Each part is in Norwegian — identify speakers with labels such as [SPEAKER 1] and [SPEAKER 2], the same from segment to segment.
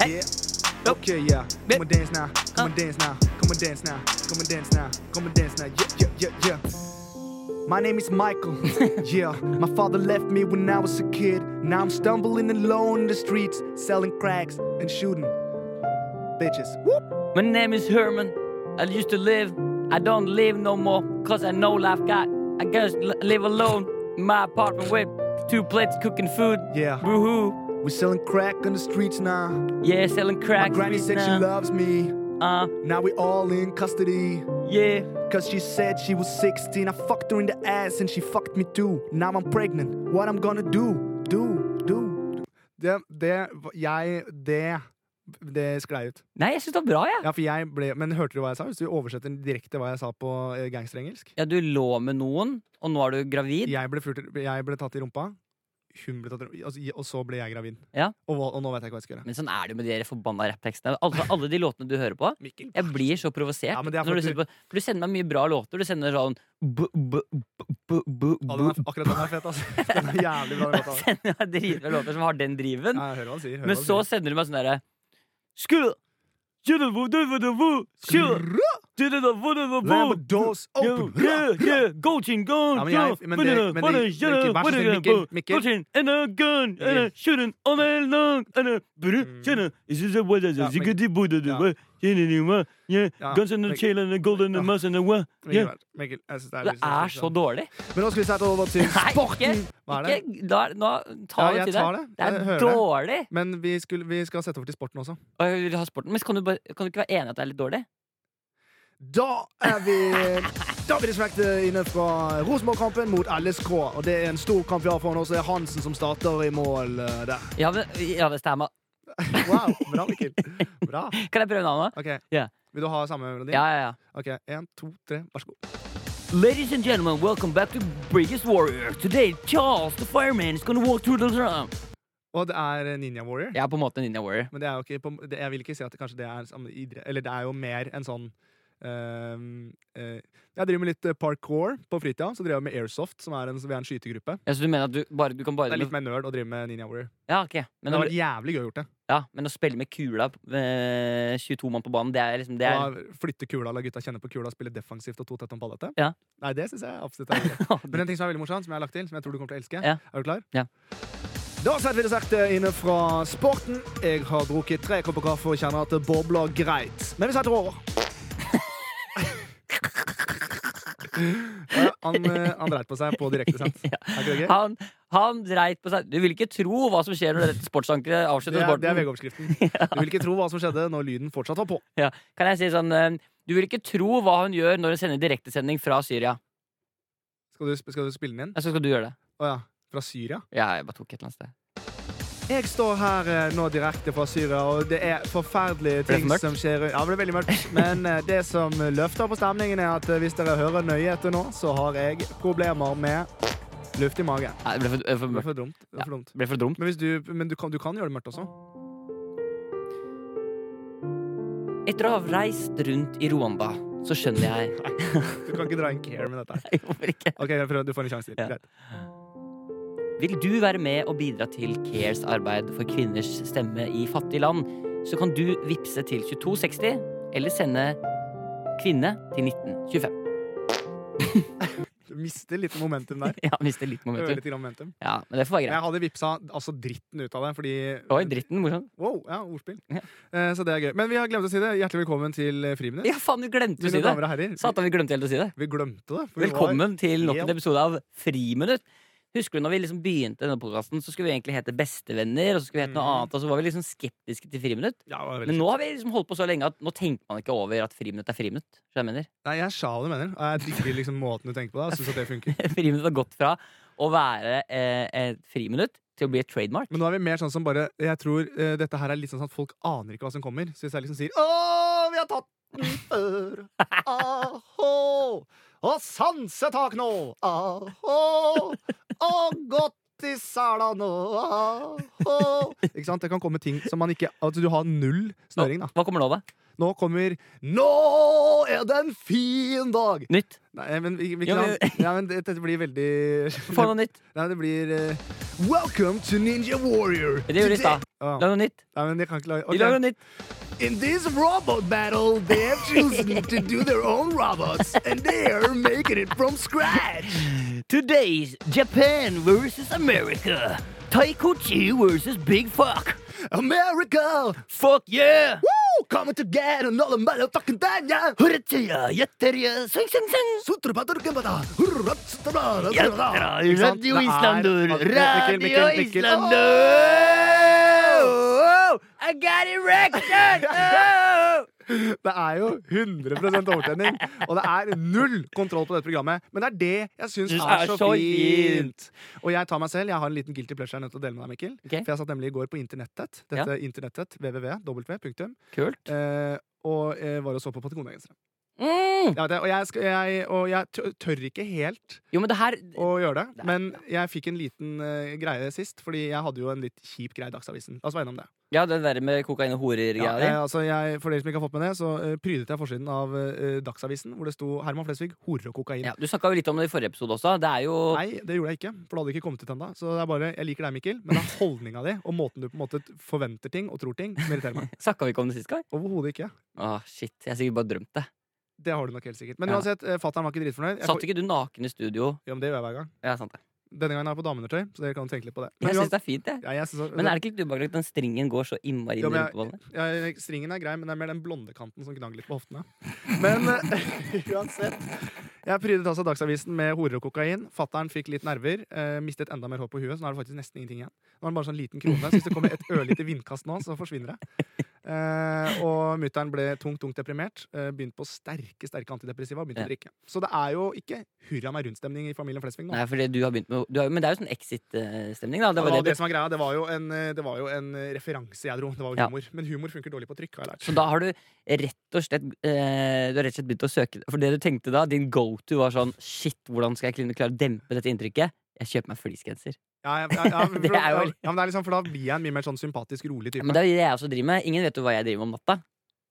[SPEAKER 1] Hey.
[SPEAKER 2] Yeah. Okay, yeah. Come and dance now. Come and dance now. Come and dance now. Come and dance now. Come and dance now. Yeah, yeah, yeah, yeah. My name is Michael. yeah, my father left me when I was a kid. Now I'm stumbling alone in the streets, selling cracks and shooting bitches. Whoop.
[SPEAKER 1] My name is Herman. I used to live. I don't live no more, cause I know life got. I guess l- live alone in my apartment with two plates cooking food.
[SPEAKER 2] Yeah.
[SPEAKER 1] Woohoo.
[SPEAKER 2] We're selling crack on the streets now.
[SPEAKER 1] Yeah, selling
[SPEAKER 2] My
[SPEAKER 1] crack.
[SPEAKER 2] granny said she loves me.
[SPEAKER 1] Uh,
[SPEAKER 2] Now we all in custody.
[SPEAKER 1] yeah.
[SPEAKER 2] Cause she said she was 16. I fucked her in the ass and she fucked me too. Now I'm pregnant. What I'm gonna do? Do, do. Det, det Jeg Det det sklei ut.
[SPEAKER 1] Nei, jeg syns det var bra, jeg. Ja.
[SPEAKER 2] Ja, for jeg ble, Men hørte du hva jeg sa? Hvis du oversetter direkte hva jeg sa på eh, gangsterengelsk?
[SPEAKER 1] du lå med noen, og nå er du gravid.
[SPEAKER 2] Jeg ble, flurt, jeg ble tatt i rumpa, hun ble tatt i rumpa, og så- og så ble jeg gravid.
[SPEAKER 1] Ja.
[SPEAKER 2] Og, hva- og nå vet jeg ikke hva jeg skal gjøre.
[SPEAKER 1] Men sånn er det jo med de der forbanna rapptekstene. Alle, alle de låtene du hører på.
[SPEAKER 2] Mikkel.
[SPEAKER 1] Jeg blir så provosert.
[SPEAKER 2] Ja, men det er for
[SPEAKER 1] når
[SPEAKER 2] at du-
[SPEAKER 1] du, setter på, for du sender meg mye bra låter. Du sender sånn bu, bu, bu, bu, bu,
[SPEAKER 2] Ja, den er,
[SPEAKER 1] bu.
[SPEAKER 2] akkurat den er fet, altså. Den er jævlig bra. den
[SPEAKER 1] Da
[SPEAKER 2] låta.
[SPEAKER 1] sender jeg dritbra låter som har den driven.
[SPEAKER 2] Ja, jeg hører hva han sier. hører
[SPEAKER 1] Men
[SPEAKER 2] hva han
[SPEAKER 1] så sender du meg sånn derre Skru- skru- vo- du- vo- du- vo-
[SPEAKER 2] sier.
[SPEAKER 1] skru- du- du- du- vo- du- vo- vo-
[SPEAKER 2] Lamborghini
[SPEAKER 1] Yo,
[SPEAKER 2] open.
[SPEAKER 1] yeah, yeah, go, Chin, go,
[SPEAKER 2] Ja, men jeg-
[SPEAKER 1] go,
[SPEAKER 2] men det-
[SPEAKER 1] banana,
[SPEAKER 2] men det-
[SPEAKER 1] banana,
[SPEAKER 2] det er
[SPEAKER 1] banana,
[SPEAKER 2] ikke- vær så snill,
[SPEAKER 1] banana,
[SPEAKER 2] Mikkel,
[SPEAKER 1] bo-
[SPEAKER 2] Mikkel.
[SPEAKER 1] go, Chin, and a gun, and a
[SPEAKER 2] Mikkel.
[SPEAKER 1] shooting all night long, and a bru- shooting. This is a what is a
[SPEAKER 2] Ja, Mikkel.
[SPEAKER 1] ziggity boo da da
[SPEAKER 2] Ja.
[SPEAKER 1] wa, yin and yin wa, yeah,
[SPEAKER 2] Ja,
[SPEAKER 1] guns and a
[SPEAKER 2] Mikkel.
[SPEAKER 1] chain and a gold and a
[SPEAKER 2] Ja.
[SPEAKER 1] mouse and a wa, yeah.
[SPEAKER 2] Mikkel, Mikkel, jeg synes det er
[SPEAKER 1] Det
[SPEAKER 2] litt
[SPEAKER 1] er
[SPEAKER 2] sånn-
[SPEAKER 1] så dårlig.
[SPEAKER 2] Men nå skal vi sette over til
[SPEAKER 1] Nei,
[SPEAKER 2] sporten!
[SPEAKER 1] ikke-
[SPEAKER 2] Hva er det?
[SPEAKER 1] Ikke- da, nå, ta
[SPEAKER 2] Ja,
[SPEAKER 1] det
[SPEAKER 2] jeg
[SPEAKER 1] til
[SPEAKER 2] tar
[SPEAKER 1] deg.
[SPEAKER 2] det.
[SPEAKER 1] Det
[SPEAKER 2] Jeg
[SPEAKER 1] er
[SPEAKER 2] hører det.
[SPEAKER 1] dårlig.
[SPEAKER 2] Men vi, skulle, vi skal sette over til sporten også.
[SPEAKER 1] Og jeg vil ha sporten. Men så kan du, bare, kan du ikke være enig i at det er litt dårlig?
[SPEAKER 2] Da er vi Da er vi direkte inne fra Rosenborg-kampen mot LSK. Og det er en stor kamp vi har foran oss. Det er Hansen som starter i mål eh, der.
[SPEAKER 1] Ja, men, ja, det stemmer.
[SPEAKER 2] Wow, bra, Mikkel. Bra.
[SPEAKER 1] Kan jeg prøve navnet?
[SPEAKER 2] Ok,
[SPEAKER 1] Ja.
[SPEAKER 2] Vil du ha samme melodi?
[SPEAKER 1] Ja, ja, ja.
[SPEAKER 2] Ok, Én, to, tre, vær så god.
[SPEAKER 1] Ladies and gentlemen, welcome back to Biggest Warrior. Today, Charles the fireman is gonna walk through the room.
[SPEAKER 2] Og det er Ninja Warrior.
[SPEAKER 1] Jeg er på en måte Ninja Warrior.
[SPEAKER 2] Men det er jo ikke på, det, jeg vil ikke si at det kanskje det er samme idrett Eller det er jo mer en sånn ehm, eh, Jeg driver med litt eh, parkour på fritida. Så driver jeg med Airsoft, som er en, vi er en skytegruppe.
[SPEAKER 1] Ja, så du mener at du bare du kan bare
[SPEAKER 2] Det er litt mer nerd å drive med Ninja Warrior.
[SPEAKER 1] Ja, ok. Men,
[SPEAKER 2] Men det
[SPEAKER 1] å,
[SPEAKER 2] har vært jævlig gøy å gjort det.
[SPEAKER 1] ja, men å spille med kula, eh, 22 mann på banen, det er liksom det er,
[SPEAKER 2] Og Flytte kula, la gutta kjenne på kula, spille defensivt og to tett om ballete.
[SPEAKER 1] Ja.
[SPEAKER 2] Nei, det synes jeg absolutt er gøy. Men en ting som er veldig morsom, som jeg har lagt til, som jeg tror du kommer til å elske.
[SPEAKER 1] Ja.
[SPEAKER 2] Er du klar?
[SPEAKER 1] Ja.
[SPEAKER 2] Da setter vi det sakte inne fra sporten. Jeg har drukket tre kopper kaffe og kjenner at det bobler greit. Men vi setter over. Ja, han, eh, han dreit på seg på direktesendt. Er ikke det gøy?
[SPEAKER 1] Han, han dreit på seg. Du vil ikke tro hva som skjer når dette sportsankeret
[SPEAKER 2] Det
[SPEAKER 1] avslutter
[SPEAKER 2] er, det er
[SPEAKER 1] sporten.
[SPEAKER 2] VG-overskriften. Du vil ikke tro hva som skjedde når lyden fortsatt var på.
[SPEAKER 1] ja. Kan jeg si sånn eh, Du vil ikke tro hva hun gjør når hun sender direktesending fra Syria.
[SPEAKER 2] Skal du, sp- skal du spille den inn?
[SPEAKER 1] Ja, så skal du gjøre det.
[SPEAKER 2] Å ja. Fra Syria?
[SPEAKER 1] Ja, jeg bare tok et eller annet sted.
[SPEAKER 2] Jeg står her eh, nå direkte fra Syria, og det er forferdelige
[SPEAKER 1] det
[SPEAKER 2] ting
[SPEAKER 1] mørkt?
[SPEAKER 2] som skjer. Ja, det ble veldig mørkt. Men eh, det som løfter på stemningen, er at eh, hvis dere hører nøye etter nå, så har jeg problemer med luft i magen.
[SPEAKER 1] Nei, det ble for, for,
[SPEAKER 2] Det
[SPEAKER 1] mørkt.
[SPEAKER 2] er for dumt. Det er for dumt.
[SPEAKER 1] Det ble for dumt.
[SPEAKER 2] Men, hvis du, men du, kan, du kan gjøre det mørkt også.
[SPEAKER 1] Etter å ha reist rundt i Rwanda, så skjønner jeg
[SPEAKER 2] Du kan ikke dra en care med dette. her.
[SPEAKER 1] Nei, Hvorfor ikke?
[SPEAKER 2] Ok, jeg prøver, Du får en sjanse til.
[SPEAKER 1] Ja.
[SPEAKER 2] Greit.
[SPEAKER 1] Vil du være med og bidra til Cares arbeid for kvinners stemme i fattige land, så kan du vippse til 2260 eller sende kvinne til 1925.
[SPEAKER 2] Du mister litt momentum der.
[SPEAKER 1] Ja, mister litt
[SPEAKER 2] Øver
[SPEAKER 1] momentum.
[SPEAKER 2] litt grann momentum.
[SPEAKER 1] Ja, men det får være
[SPEAKER 2] Jeg
[SPEAKER 1] greit.
[SPEAKER 2] hadde vipsa altså, dritten ut av det, fordi
[SPEAKER 1] Oi, dritten morsom.
[SPEAKER 2] Wow, ja, ordspill.
[SPEAKER 1] Ja.
[SPEAKER 2] Eh, Så det er gøy. Men vi har glemt å si det. Hjertelig velkommen til eh, Friminutt.
[SPEAKER 1] Ja, faen, vi glemte å
[SPEAKER 2] Mine
[SPEAKER 1] si det.
[SPEAKER 2] damer og herrer.
[SPEAKER 1] Satan, vi glemte helt å si det.
[SPEAKER 2] Vi glemte det. for vi var-
[SPEAKER 1] Velkommen til nok en
[SPEAKER 2] helt-
[SPEAKER 1] episode av Friminutt. Husker du når vi liksom begynte denne podkasten, så skulle vi egentlig hete Bestevenner, og så skulle vi hete noe
[SPEAKER 2] Mhm.
[SPEAKER 1] annet, og så var vi liksom skeptiske til Friminutt.
[SPEAKER 2] Ja, det var veldig
[SPEAKER 1] Men nå har vi liksom holdt på så lenge at nå tenker man ikke over at friminutt er friminutt. skjønner du hva Jeg mener.
[SPEAKER 2] Nei, jeg sa hva du mener. Og jeg digger liksom måten du tenker på det. og synes at det funker.
[SPEAKER 1] friminutt har gått fra å være eh, et friminutt til å bli et trademark.
[SPEAKER 2] Men nå er vi mer sånn som bare Jeg tror eh, dette her er litt sånn at folk aner ikke hva som kommer. Så hvis jeg liksom sier Åh, vi har tatt den før. Ahå. Og sansetak nå. Ahå. Og godt i sela nå. Ahå. Ikke sant? Det kan komme ting som man ikke Altså, du har null snøring, da.
[SPEAKER 1] Hva kommer nå, da?
[SPEAKER 2] Nå kommer Nå er det en fin dag!
[SPEAKER 1] Nytt?
[SPEAKER 2] Nei, men vi, vi
[SPEAKER 1] Ja,
[SPEAKER 2] kan,
[SPEAKER 1] men-
[SPEAKER 2] ja, men dette blir veldig
[SPEAKER 1] Få noe nytt.
[SPEAKER 2] Nei, det blir eh, Welcome to Ninja Warrior.
[SPEAKER 1] Det gjør de i stad.
[SPEAKER 2] Åh,
[SPEAKER 1] Lag noe nytt.
[SPEAKER 2] Nei, men jeg kan ikke lage
[SPEAKER 1] De
[SPEAKER 2] ok.
[SPEAKER 1] lager noe nytt.
[SPEAKER 2] In this robot battle, they have chosen to do their own robots, and they are making it from scratch.
[SPEAKER 1] Today's Japan versus America. Taikuchi versus Big Fuck.
[SPEAKER 2] America,
[SPEAKER 1] Fuck yeah!
[SPEAKER 2] woo, coming together another motherfucking time, yeah.
[SPEAKER 1] Hurretia, jetteria, sung, sung, sung.
[SPEAKER 2] Sutrabadurkabada, hurratsutara,
[SPEAKER 1] Ja,
[SPEAKER 2] sutrabada.
[SPEAKER 1] Radio
[SPEAKER 2] Ikke sant? Det er-
[SPEAKER 1] Islandor!
[SPEAKER 2] Mikkel, Mikkel,
[SPEAKER 1] Radio
[SPEAKER 2] Mikkel.
[SPEAKER 1] Islandor! Oh, I got erection! Oh!
[SPEAKER 2] Det er jo 100 overtenning, og det er null kontroll på dette programmet. Men det er det jeg syns
[SPEAKER 1] Synes
[SPEAKER 2] er, så fint. Og jeg tar meg selv, jeg har en liten guilty pleasure jeg er nødt til å dele med deg, Mikkel.
[SPEAKER 1] Ok.
[SPEAKER 2] For jeg satt nemlig i går på internettet. Dette internettet, www.
[SPEAKER 1] Kult.
[SPEAKER 2] Eh, og eh, var og så på Patagonia-gensere. Jeg
[SPEAKER 1] Mm.
[SPEAKER 2] vet det, Og, jeg, skal, jeg, og jeg tø- tør ikke helt
[SPEAKER 1] Jo, men det her
[SPEAKER 2] å gjøre det.
[SPEAKER 1] Nei,
[SPEAKER 2] Men jeg fikk en liten eh, greie sist, fordi jeg hadde jo en litt kjip greie i Dagsavisen. La oss være innom det.
[SPEAKER 1] Ja, det der med kokain og
[SPEAKER 2] Ja,
[SPEAKER 1] horer-greia
[SPEAKER 2] eh,
[SPEAKER 1] di.
[SPEAKER 2] altså jeg, for dere som ikke har fått med det, så eh, prydet jeg forsiden av eh, Dagsavisen, hvor det sto Herman Flesvig horer og kokain.
[SPEAKER 1] Ja, du snakka jo litt om det i forrige episode også. Det er jo
[SPEAKER 2] Nei, det gjorde jeg ikke, for det hadde ikke kommet ut ennå. Så det er bare, jeg liker deg, Mikkel, men det er holdninga di og måten du på en måte forventer ting og tror ting, som irriterer meg.
[SPEAKER 1] Snakka vi ikke om det sist gang?
[SPEAKER 2] Overhodet ikke.
[SPEAKER 1] Å, shit. Jeg har sikkert bare drømt det.
[SPEAKER 2] Det har du nok helt sikkert. Men
[SPEAKER 1] Ja.
[SPEAKER 2] uansett, eh, fatter'n var ikke dritfornøyd. Jeg
[SPEAKER 1] Satt
[SPEAKER 2] får,
[SPEAKER 1] ikke du naken i studio?
[SPEAKER 2] ja, men det gjør jeg hver gang.
[SPEAKER 1] Ja, sant det.
[SPEAKER 2] Denne gangen er jeg på dameundertøy, så dere kan tenke litt på det.
[SPEAKER 1] Jeg
[SPEAKER 2] Men
[SPEAKER 1] syns
[SPEAKER 2] uansett-
[SPEAKER 1] det er fint, jeg.
[SPEAKER 2] ja, jeg synes også-
[SPEAKER 1] Men er det ikke litt ubehagelig at den stringen går så innmari inn
[SPEAKER 2] Ja,
[SPEAKER 1] i
[SPEAKER 2] men jeg-
[SPEAKER 1] rumpeballene?
[SPEAKER 2] ja, Stringen er grei, men det er mer den blonde kanten som gnagger litt på hoftene. Men eh, uansett. Jeg prydet altså Dagsavisen med horer og kokain. Fattern fikk litt nerver. eh, mistet enda mer hår på huet, så nå er det faktisk nesten ingenting igjen. Nå er det bare sånn liten krone, så hvis det kommer et ørlite vindkast nå, så forsvinner det. Eh, og mutter'n ble tungt, tungt deprimert. eh, begynte på sterke sterke antidepressiva og begynte
[SPEAKER 1] Ja.
[SPEAKER 2] å drikke. Så det er jo ikke hurra meg rundt-stemning i familien Flesvig nå.
[SPEAKER 1] Nei, fordi du har begynt med du har, Men det er jo sånn exit-stemning, da.
[SPEAKER 2] Det var,
[SPEAKER 1] Det var
[SPEAKER 2] det,
[SPEAKER 1] jo det du
[SPEAKER 2] som var greia, det var jo en, eh, det var jo en eh, referanse jeg dro. Det var jo
[SPEAKER 1] Ja.
[SPEAKER 2] humor. Men humor funker dårlig på trykk. har jeg lært
[SPEAKER 1] Så da har du rett og slett eh, Du har rett og slett begynt å søke For det du tenkte da, din go-to var sånn Shit, hvordan skal jeg kunne klare å dempe dette inntrykket? Jeg kjøper meg fleecegenser.
[SPEAKER 2] Ja, ja, ja, ja, men
[SPEAKER 1] Det
[SPEAKER 2] for-
[SPEAKER 1] er jo-
[SPEAKER 2] ja, men det er liksom, for da blir jeg en mye mer sånn sympatisk, rolig type.
[SPEAKER 1] Men det er jo det jeg også driver med. Ingen vet jo hva jeg driver med om natta.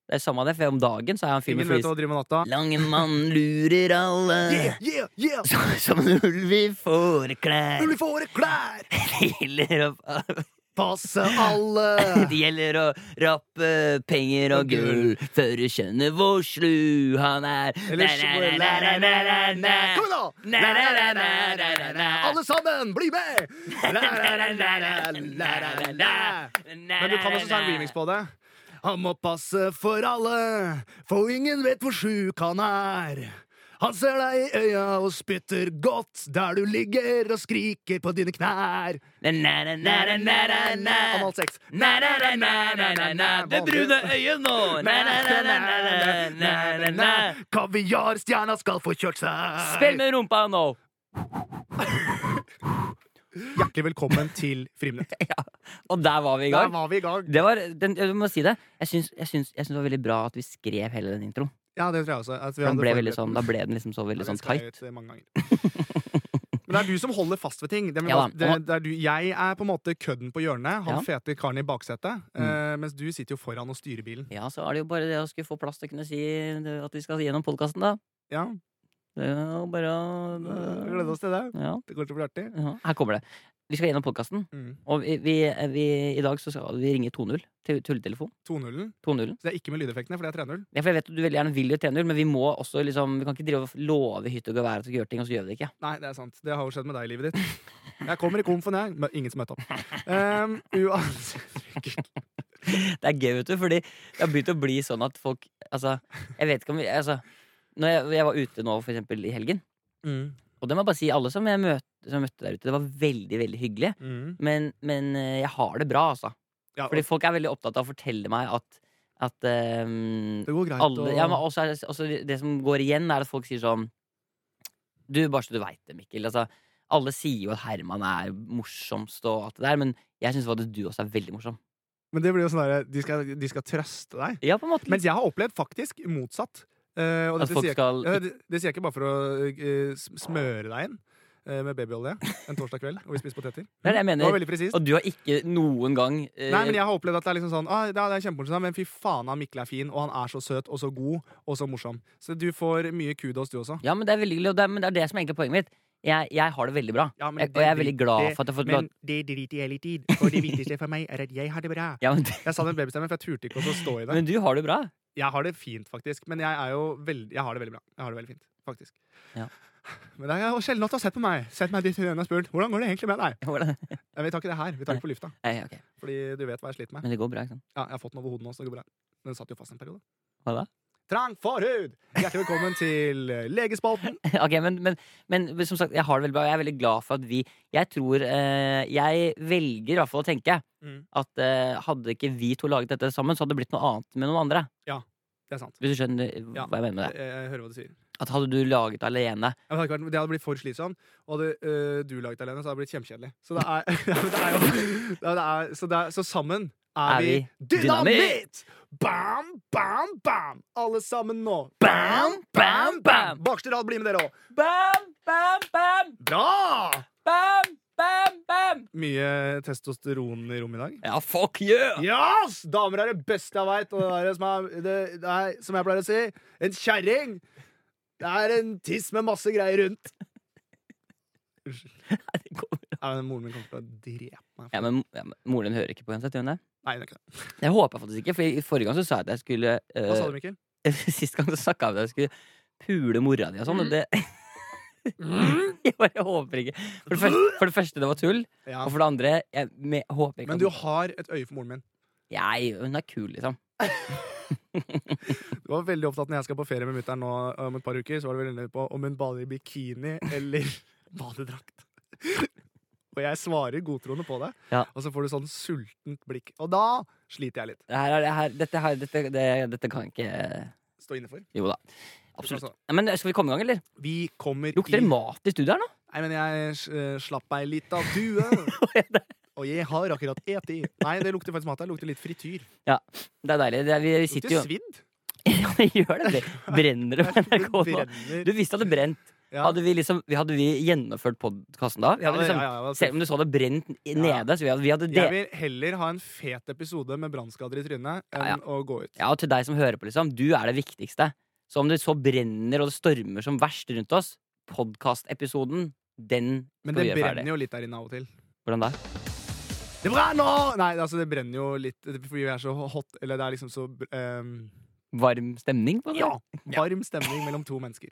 [SPEAKER 1] Det er samme av det, for om dagen så er jeg en fyr
[SPEAKER 2] Ingen vet hva
[SPEAKER 1] med fleece.
[SPEAKER 2] du driver med natta.
[SPEAKER 1] Lange mann lurer alle
[SPEAKER 2] Yeah, yeah, yeah!
[SPEAKER 1] som, som en ulv i
[SPEAKER 2] Når
[SPEAKER 1] fåreklær.
[SPEAKER 2] du får et klær,
[SPEAKER 1] Det gjelder å
[SPEAKER 2] passe alle!
[SPEAKER 1] Det gjelder å rappe penger og gull før du skjønner hvor slu han er.
[SPEAKER 2] Ellers går- Kom igjen, da!
[SPEAKER 1] Na, na, na, na, na, na, na.
[SPEAKER 2] Alle sammen, bli med! Men du kan også ta en remix på det. Han må passe for alle, for ingen vet hvor sjuk han er. Han ser deg i øya og spytter godt der du ligger og skriker på dine knær. Anal sex.
[SPEAKER 1] Det brune øyet nå! Na, na, na, na, na, na, na, na.
[SPEAKER 2] Kaviarstjerna skal få kjørt seg.
[SPEAKER 1] Spill med rumpa nå!
[SPEAKER 2] Hjertelig velkommen til Friminutt.
[SPEAKER 1] Og der var vi i
[SPEAKER 2] Der
[SPEAKER 1] gang.
[SPEAKER 2] var vi i gang.
[SPEAKER 1] Det var, den, jeg må si det. Jeg syns, jeg, syns, jeg syns det var veldig bra at vi skrev hele den introen.
[SPEAKER 2] Ja, det tror jeg også. at vi
[SPEAKER 1] Den
[SPEAKER 2] hadde
[SPEAKER 1] ble
[SPEAKER 2] forberedt
[SPEAKER 1] veldig sånn, da ble den liksom så
[SPEAKER 2] Ja,
[SPEAKER 1] veldig
[SPEAKER 2] den
[SPEAKER 1] sånn
[SPEAKER 2] skal
[SPEAKER 1] tight.
[SPEAKER 2] jeg ut, eh, mange ganger. Men det er du som holder fast ved ting. Det,
[SPEAKER 1] Ja da,
[SPEAKER 2] det, det er du, jeg er på en måte kødden på hjørnet, han
[SPEAKER 1] Ja. Mm.
[SPEAKER 2] fete karen i baksetet. eh, mens du sitter jo foran og styrer bilen.
[SPEAKER 1] Ja, så er det jo bare det å skulle få plass til å kunne si det- at vi skal gjennom podkasten, da.
[SPEAKER 2] Ja,
[SPEAKER 1] Det er jo bare
[SPEAKER 2] eh, Gleder oss til det.
[SPEAKER 1] ja,
[SPEAKER 2] Det kommer til å bli artig.
[SPEAKER 1] ja. Her kommer det. Vi skal gjennom podkasten,
[SPEAKER 2] Mm.
[SPEAKER 1] og vi, vi, vi, i dag så skal vi ringe 2-0 til tulletelefon.
[SPEAKER 2] 2-0-en.
[SPEAKER 1] 2-0.
[SPEAKER 2] Så det er ikke med lydeffektene, for det er 3-0.
[SPEAKER 1] Ja, for jeg vet at du veldig gjerne vil jo 3-0, men vi må også liksom Vi kan ikke drive og love hytte og gevær at vi skal gjøre ting, og så gjør vi det ikke.
[SPEAKER 2] Nei, det er sant. Det har jo skjedd med deg i livet ditt. Jeg kommer i komfen, jeg. Men ingen som møtte opp. Um, uansett
[SPEAKER 1] Det er gøy, vet du, fordi det har begynt å bli sånn at folk Altså, jeg vet ikke om vi Altså, når jeg, jeg var ute nå, for eksempel, i helgen,
[SPEAKER 2] mm,
[SPEAKER 1] og det må jeg bare si, alle som jeg møtte, som jeg møtte der ute, det var veldig, veldig hyggelig.
[SPEAKER 2] mm.
[SPEAKER 1] Men, men eh, jeg har det bra, altså.
[SPEAKER 2] Ja,
[SPEAKER 1] Fordi folk er veldig opptatt av å fortelle meg at, at ehm,
[SPEAKER 2] det går greit
[SPEAKER 1] alle,
[SPEAKER 2] å
[SPEAKER 1] ja, men også, er det- også Det som går igjen, er at folk sier sånn Du, bare så du veit det, Mikkel. Altså, alle sier jo at Herman er morsomst og alt det der, men jeg syns faktisk du også er veldig morsom.
[SPEAKER 2] Men det blir jo sånn derre de, skal- de skal trøste deg.
[SPEAKER 1] Ja, på en måte.
[SPEAKER 2] Mens jeg har opplevd faktisk motsatt. Eh, og
[SPEAKER 1] At
[SPEAKER 2] dette
[SPEAKER 1] folk
[SPEAKER 2] sier jeg,
[SPEAKER 1] skal-
[SPEAKER 2] ja, det, det sier jeg ikke bare for å eh, sm- smøre deg inn eh, med babyolje en torsdag kveld, og vi spiser poteter.
[SPEAKER 1] det er det jeg
[SPEAKER 2] Det var
[SPEAKER 1] mener.
[SPEAKER 2] veldig presist.
[SPEAKER 1] Og du har ikke noen gang eh,
[SPEAKER 2] Nei, men jeg har opplevd at det er liksom sånn ah, ja, det er kjempemorsomt, men fy faen, han Mikkel er fin, og han er så søt og så god og så morsom. Så du får mye kudos, du også.
[SPEAKER 1] Ja, men det er veldig hyggelig, og det er, men det er det som er egentlig poenget mitt. Jeg, jeg har det veldig bra.
[SPEAKER 2] Ja, men
[SPEAKER 1] Jeg,
[SPEAKER 2] det-
[SPEAKER 1] og jeg er veldig glad for at jeg har fått lov
[SPEAKER 2] Men det driter jeg litt i. Og det viktigste for meg er at jeg har det bra.
[SPEAKER 1] ja, men,
[SPEAKER 2] Jeg sa den babystemmen, for jeg turte ikke å stå i det.
[SPEAKER 1] men du har det bra.
[SPEAKER 2] Jeg har det fint, faktisk. Men jeg er jo veld... jeg har det veldig bra. Jeg har det veldig fint, faktisk.
[SPEAKER 1] Ja.
[SPEAKER 2] Men det er jo sjelden at du har sett på meg Sett meg dit i øynene og spurt hvordan går det egentlig med deg.
[SPEAKER 1] Hvordan-
[SPEAKER 2] Nei, Vi tar ikke det her. Vi tar det på lufta.
[SPEAKER 1] Nei, ok.
[SPEAKER 2] Fordi du vet hva jeg sliter med.
[SPEAKER 1] Men det går bra. ikke sant?
[SPEAKER 2] Ja, jeg har fått den over hodet nå, så det går bra. Den satt jo fast en periode.
[SPEAKER 1] Hva da?
[SPEAKER 2] Trang forhud! Hjertelig velkommen til Legespalten.
[SPEAKER 1] Ok, men, men, men som sagt, jeg har det veldig bra. og Jeg er veldig glad for at vi Jeg tror eh, Jeg velger i hvert fall å tenke
[SPEAKER 2] Mm.
[SPEAKER 1] at eh, hadde ikke vi to laget dette sammen, så hadde det blitt noe annet med noen andre.
[SPEAKER 2] Det er sant.
[SPEAKER 1] Hvis du skjønner eh,
[SPEAKER 2] Ja.
[SPEAKER 1] hva jeg mener med det.
[SPEAKER 2] Jeg, jeg hører hva du sier.
[SPEAKER 1] At hadde du laget det alene
[SPEAKER 2] Ja, men Det hadde, ikke vært, det hadde blitt for slitsomt. Og hadde øh, du laget det alene, så hadde det blitt kjempekjedelig. Så det er, ja, men det er jo ja, det er, så, det er, så sammen er,
[SPEAKER 1] Er vi
[SPEAKER 2] vi dynamitt! Bam, bam, bam! Alle sammen nå.
[SPEAKER 1] Bam, bam, bam!
[SPEAKER 2] Bakerste rad, bli med dere òg.
[SPEAKER 1] Bam, bam, bam!
[SPEAKER 2] Bra!
[SPEAKER 1] Bam, bam, bam!
[SPEAKER 2] Mye testosteron i rommet i dag.
[SPEAKER 1] Ja, fuck you!
[SPEAKER 2] Yes! Damer er det beste jeg veit, og det er det som er, det, det er, som jeg pleier å si, en kjerring. Det er en tiss med masse greier rundt.
[SPEAKER 1] Nei, det går bra.
[SPEAKER 2] Nei, men Moren min kommer til å drepe meg.
[SPEAKER 1] Ja, men, ja, men Moren din hører ikke på uansett, gjør hun det?
[SPEAKER 2] Nei, det er ikke det.
[SPEAKER 1] Jeg håper jeg faktisk ikke, for i forrige gang så sa jeg at jeg skulle
[SPEAKER 2] Hva sa
[SPEAKER 1] uh,
[SPEAKER 2] du, Mikkel?
[SPEAKER 1] Sist gang så snakka jeg om at jeg skulle pule mora di og sånn, og det Jeg bare håper ikke. For det, første, for det første, det var tull.
[SPEAKER 2] Ja.
[SPEAKER 1] Og for det andre, jeg me, håper ikke
[SPEAKER 2] Men
[SPEAKER 1] at-
[SPEAKER 2] du har et øye for moren min.
[SPEAKER 1] Nei, hun er kul, liksom.
[SPEAKER 2] Du var veldig opptatt når jeg skal på ferie med mutter'n nå om et par uker. Så var du veldig nøye på om hun bader i bikini eller badedrakt. Og jeg svarer godtroende på det,
[SPEAKER 1] Ja.
[SPEAKER 2] og så får du sånn sultent blikk. Og da sliter jeg litt.
[SPEAKER 1] Det her er, det her, dette, her, dette, det, dette kan ikke
[SPEAKER 2] Stå innenfor.
[SPEAKER 1] Jo da. Absolutt.
[SPEAKER 2] Sånn,
[SPEAKER 1] Nei, Men eh, skal vi komme i gang, eller?
[SPEAKER 2] Vi kommer
[SPEAKER 1] Lukter
[SPEAKER 2] i
[SPEAKER 1] det mat i studio her nå?
[SPEAKER 2] Nei, men jeg eh, slapp ei lita due. Og jeg har akkurat eti. Nei, det lukter faktisk mat her. Det Lukter litt frityr.
[SPEAKER 1] Det er deilig. Det er, vi, vi sitter
[SPEAKER 2] Lukter
[SPEAKER 1] jo
[SPEAKER 2] svidd.
[SPEAKER 1] Ja, det gjør det. det Brenner det
[SPEAKER 2] Det
[SPEAKER 1] på NRK nå?
[SPEAKER 2] brenner.
[SPEAKER 1] Du visste at det brent.
[SPEAKER 2] Ja.
[SPEAKER 1] Hadde vi, liksom, vi- hadde vi gjennomført podkasten da? Vi
[SPEAKER 2] Ja,
[SPEAKER 1] hadde
[SPEAKER 2] det-
[SPEAKER 1] liksom,
[SPEAKER 2] ja, ja,
[SPEAKER 1] Selv om du så det brent i-
[SPEAKER 2] Ja.
[SPEAKER 1] nede, så vi hadde, vi hadde
[SPEAKER 2] Jeg
[SPEAKER 1] det.
[SPEAKER 2] vil heller ha en fet episode med brannskader i trynet enn
[SPEAKER 1] Ja, ja.
[SPEAKER 2] å gå ut.
[SPEAKER 1] Ja, og til deg som hører på, liksom. Du er det viktigste. Så om det så brenner og det stormer som verst rundt oss, podkastepisoden, den
[SPEAKER 2] Men
[SPEAKER 1] skal
[SPEAKER 2] det
[SPEAKER 1] vi gjøre
[SPEAKER 2] brenner
[SPEAKER 1] ferdig.
[SPEAKER 2] jo litt der inne av og til.
[SPEAKER 1] Hvordan da?
[SPEAKER 2] Det brenner! Nei, altså, det brenner jo litt fordi vi er så hot. Eller det er liksom så ehm,
[SPEAKER 1] Varm stemning på det?
[SPEAKER 2] Ja! Varm stemning mellom to mennesker.